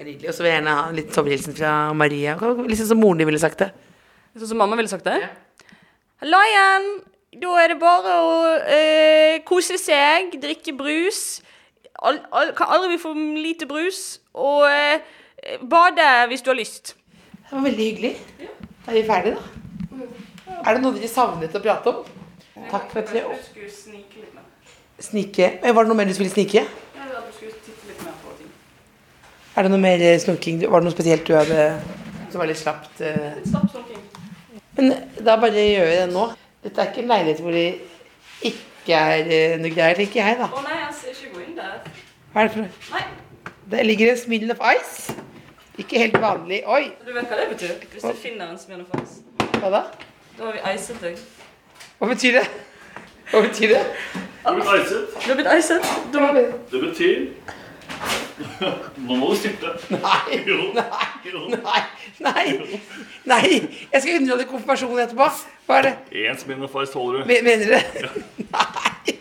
[SPEAKER 6] Det er Nydelig. Og så vil jeg gjerne ha en liten sommerhilsen fra Maria. Litt sånn som moren din ville sagt det.
[SPEAKER 8] Sånn som mamma ville sagt det?
[SPEAKER 4] Hallo igjen! Da er det bare å eh, kose seg, drikke brus. Al al kan aldri bli for lite brus. Og eh, bade hvis du har lyst.
[SPEAKER 6] Det var veldig hyggelig. Da er vi ferdige, da. Er det noe dere savnet å prate om? Takk for at dere
[SPEAKER 8] skulle snike litt mer.
[SPEAKER 6] Snike Eh, Var det noe mer du skulle snike?
[SPEAKER 8] Jeg ville at du skulle titte litt mer på ting.
[SPEAKER 6] Er det noe mer eh, snoking? Var det noe spesielt du hadde som var litt slapt? eh? Men eh, da bare gjør vi det nå. Dette er ikke en leilighet hvor det ikke er eh, noe greier, tenker jeg, da.
[SPEAKER 8] Å nei, altså, ikke gå inn der.
[SPEAKER 6] Hva er det for noe?
[SPEAKER 8] Nei.
[SPEAKER 6] Der ligger en smil of ice. Ikke helt vanlig. Oi,
[SPEAKER 8] Du vet hva det betyr? Hvis du finner en smil av oss,
[SPEAKER 6] hva da?
[SPEAKER 8] da har vi eiset deg.
[SPEAKER 6] Hva betyr det? Hva betyr det?
[SPEAKER 8] Du har blitt eiset. Du må...
[SPEAKER 5] Det betyr Nå må du sitte.
[SPEAKER 6] Nei,
[SPEAKER 5] Jo.
[SPEAKER 6] nei,
[SPEAKER 5] Jo.
[SPEAKER 6] nei, nei, nei. Jeg skal underholde konfirmasjonen etterpå. Hva er det?
[SPEAKER 5] Én smil med fars tåler du.
[SPEAKER 6] Me- Mener du det? Nei.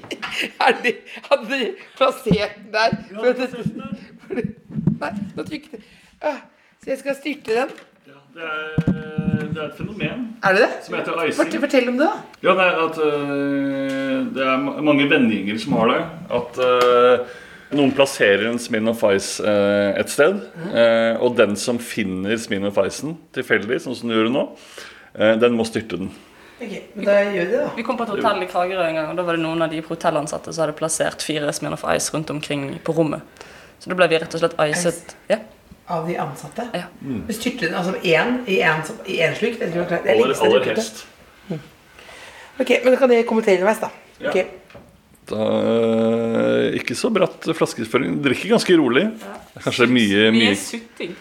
[SPEAKER 6] Er de, hadde de plassert den der? For at det, for det, nei, nå trykket det. Ah, Så jeg skal styrte den.
[SPEAKER 5] Det er, det er et fenomen
[SPEAKER 6] Er det det?
[SPEAKER 5] som heter
[SPEAKER 6] Fortell,
[SPEAKER 5] icing.
[SPEAKER 6] fortell om det, da.
[SPEAKER 5] Ja, det er at øh, det er ma- mange vennegjenger som har det. At øh, noen plasserer en Smirnoff Ice øh, et sted. øh, og den som finner Smirnoff Icen tilfeldig, sånn som du gjør det nå, øh, den må styrte den.
[SPEAKER 6] Ok, men da gjør vi det, da.
[SPEAKER 8] Vi kom på et hotell i Kragerø en gang, og da var det noen av de hotellansatte som hadde plassert fire Smirnoff Ice rundt omkring på rommet. Så da ble vi rett og slett icet. Ja.
[SPEAKER 6] Av de ansatte.
[SPEAKER 8] Ja.
[SPEAKER 6] Men styrte den altså én i én som- i én slurk? Det tror jeg var klart. Det er
[SPEAKER 5] Aller,
[SPEAKER 6] lengst jeg
[SPEAKER 5] aller
[SPEAKER 6] trykket.
[SPEAKER 5] helst.
[SPEAKER 6] Ok, men da kan dere kommentere underveis, da.
[SPEAKER 5] Ja.
[SPEAKER 6] Ok.
[SPEAKER 5] Da, øh, ikke så bratt flaskeføring. Drikker ganske rolig. Kanskje det er mye
[SPEAKER 8] Mye
[SPEAKER 5] mye,
[SPEAKER 8] sutting.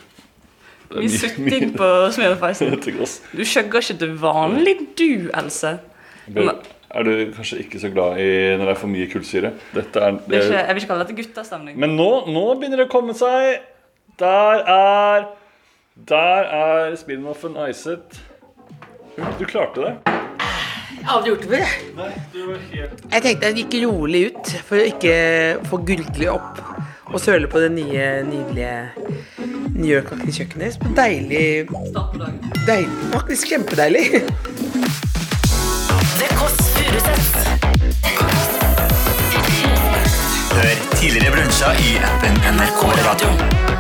[SPEAKER 5] det er
[SPEAKER 8] Mye sutting på Smirnoff Icen.
[SPEAKER 5] mye til oss.
[SPEAKER 8] Du skjøgger ikke til vanlig, du, Else. Men-
[SPEAKER 5] Er du kanskje ikke så glad i når det er for mye kullsyre? Dette er,
[SPEAKER 8] Det er ikke, jeg vil ikke kalle dette guttastemning.
[SPEAKER 5] Men nå, nå begynner det å komme seg. Der er Der er spin-offen icet. Du klarte det.
[SPEAKER 6] Jeg har aldri gjort det før, jeg.
[SPEAKER 5] Nei, du var helt
[SPEAKER 6] Jeg tenkte jeg gikk rolig ut for å ikke få gurgle opp og søle på det nye, nydelige New York-aktige kjøkkenet. deres. Men Deilig,
[SPEAKER 8] Start på dagen.
[SPEAKER 6] deilig. Faktisk kjempedeilig.
[SPEAKER 2] Det Kåss Furuseths.
[SPEAKER 9] Hør tidligere brunsja i appen NRK Radio.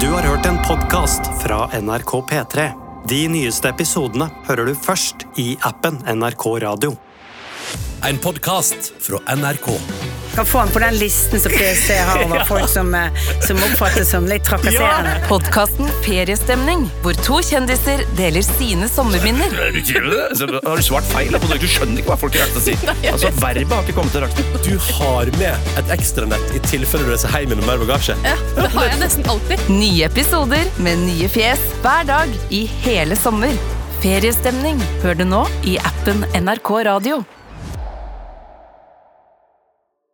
[SPEAKER 1] Du har hørt en podkast fra NRK P3. De nyeste episodene hører du først i appen NRK Radio.
[SPEAKER 10] En podkast fra NRK.
[SPEAKER 11] Kan få han på den listen som PST har over folk som, eh, som oppfattes som litt trakasserende.
[SPEAKER 12] Podkasten Feriestemning, hvor to kjendiser deler sine sommerminner.
[SPEAKER 13] Er du ikke enig i det? Så Har du svart feil? da, på det? Du skjønner ikke hva folk rakter å si. Altså, Verbet har ikke kommet til rakten.
[SPEAKER 10] Du har med et ekstranett i tilfelle du reiser hjem med noe mer bagasje.
[SPEAKER 12] Ja, det har jeg nesten alltid. Nye episoder med nye fjes hver dag i hele sommer. Feriestemning hører du nå i appen NRK Radio.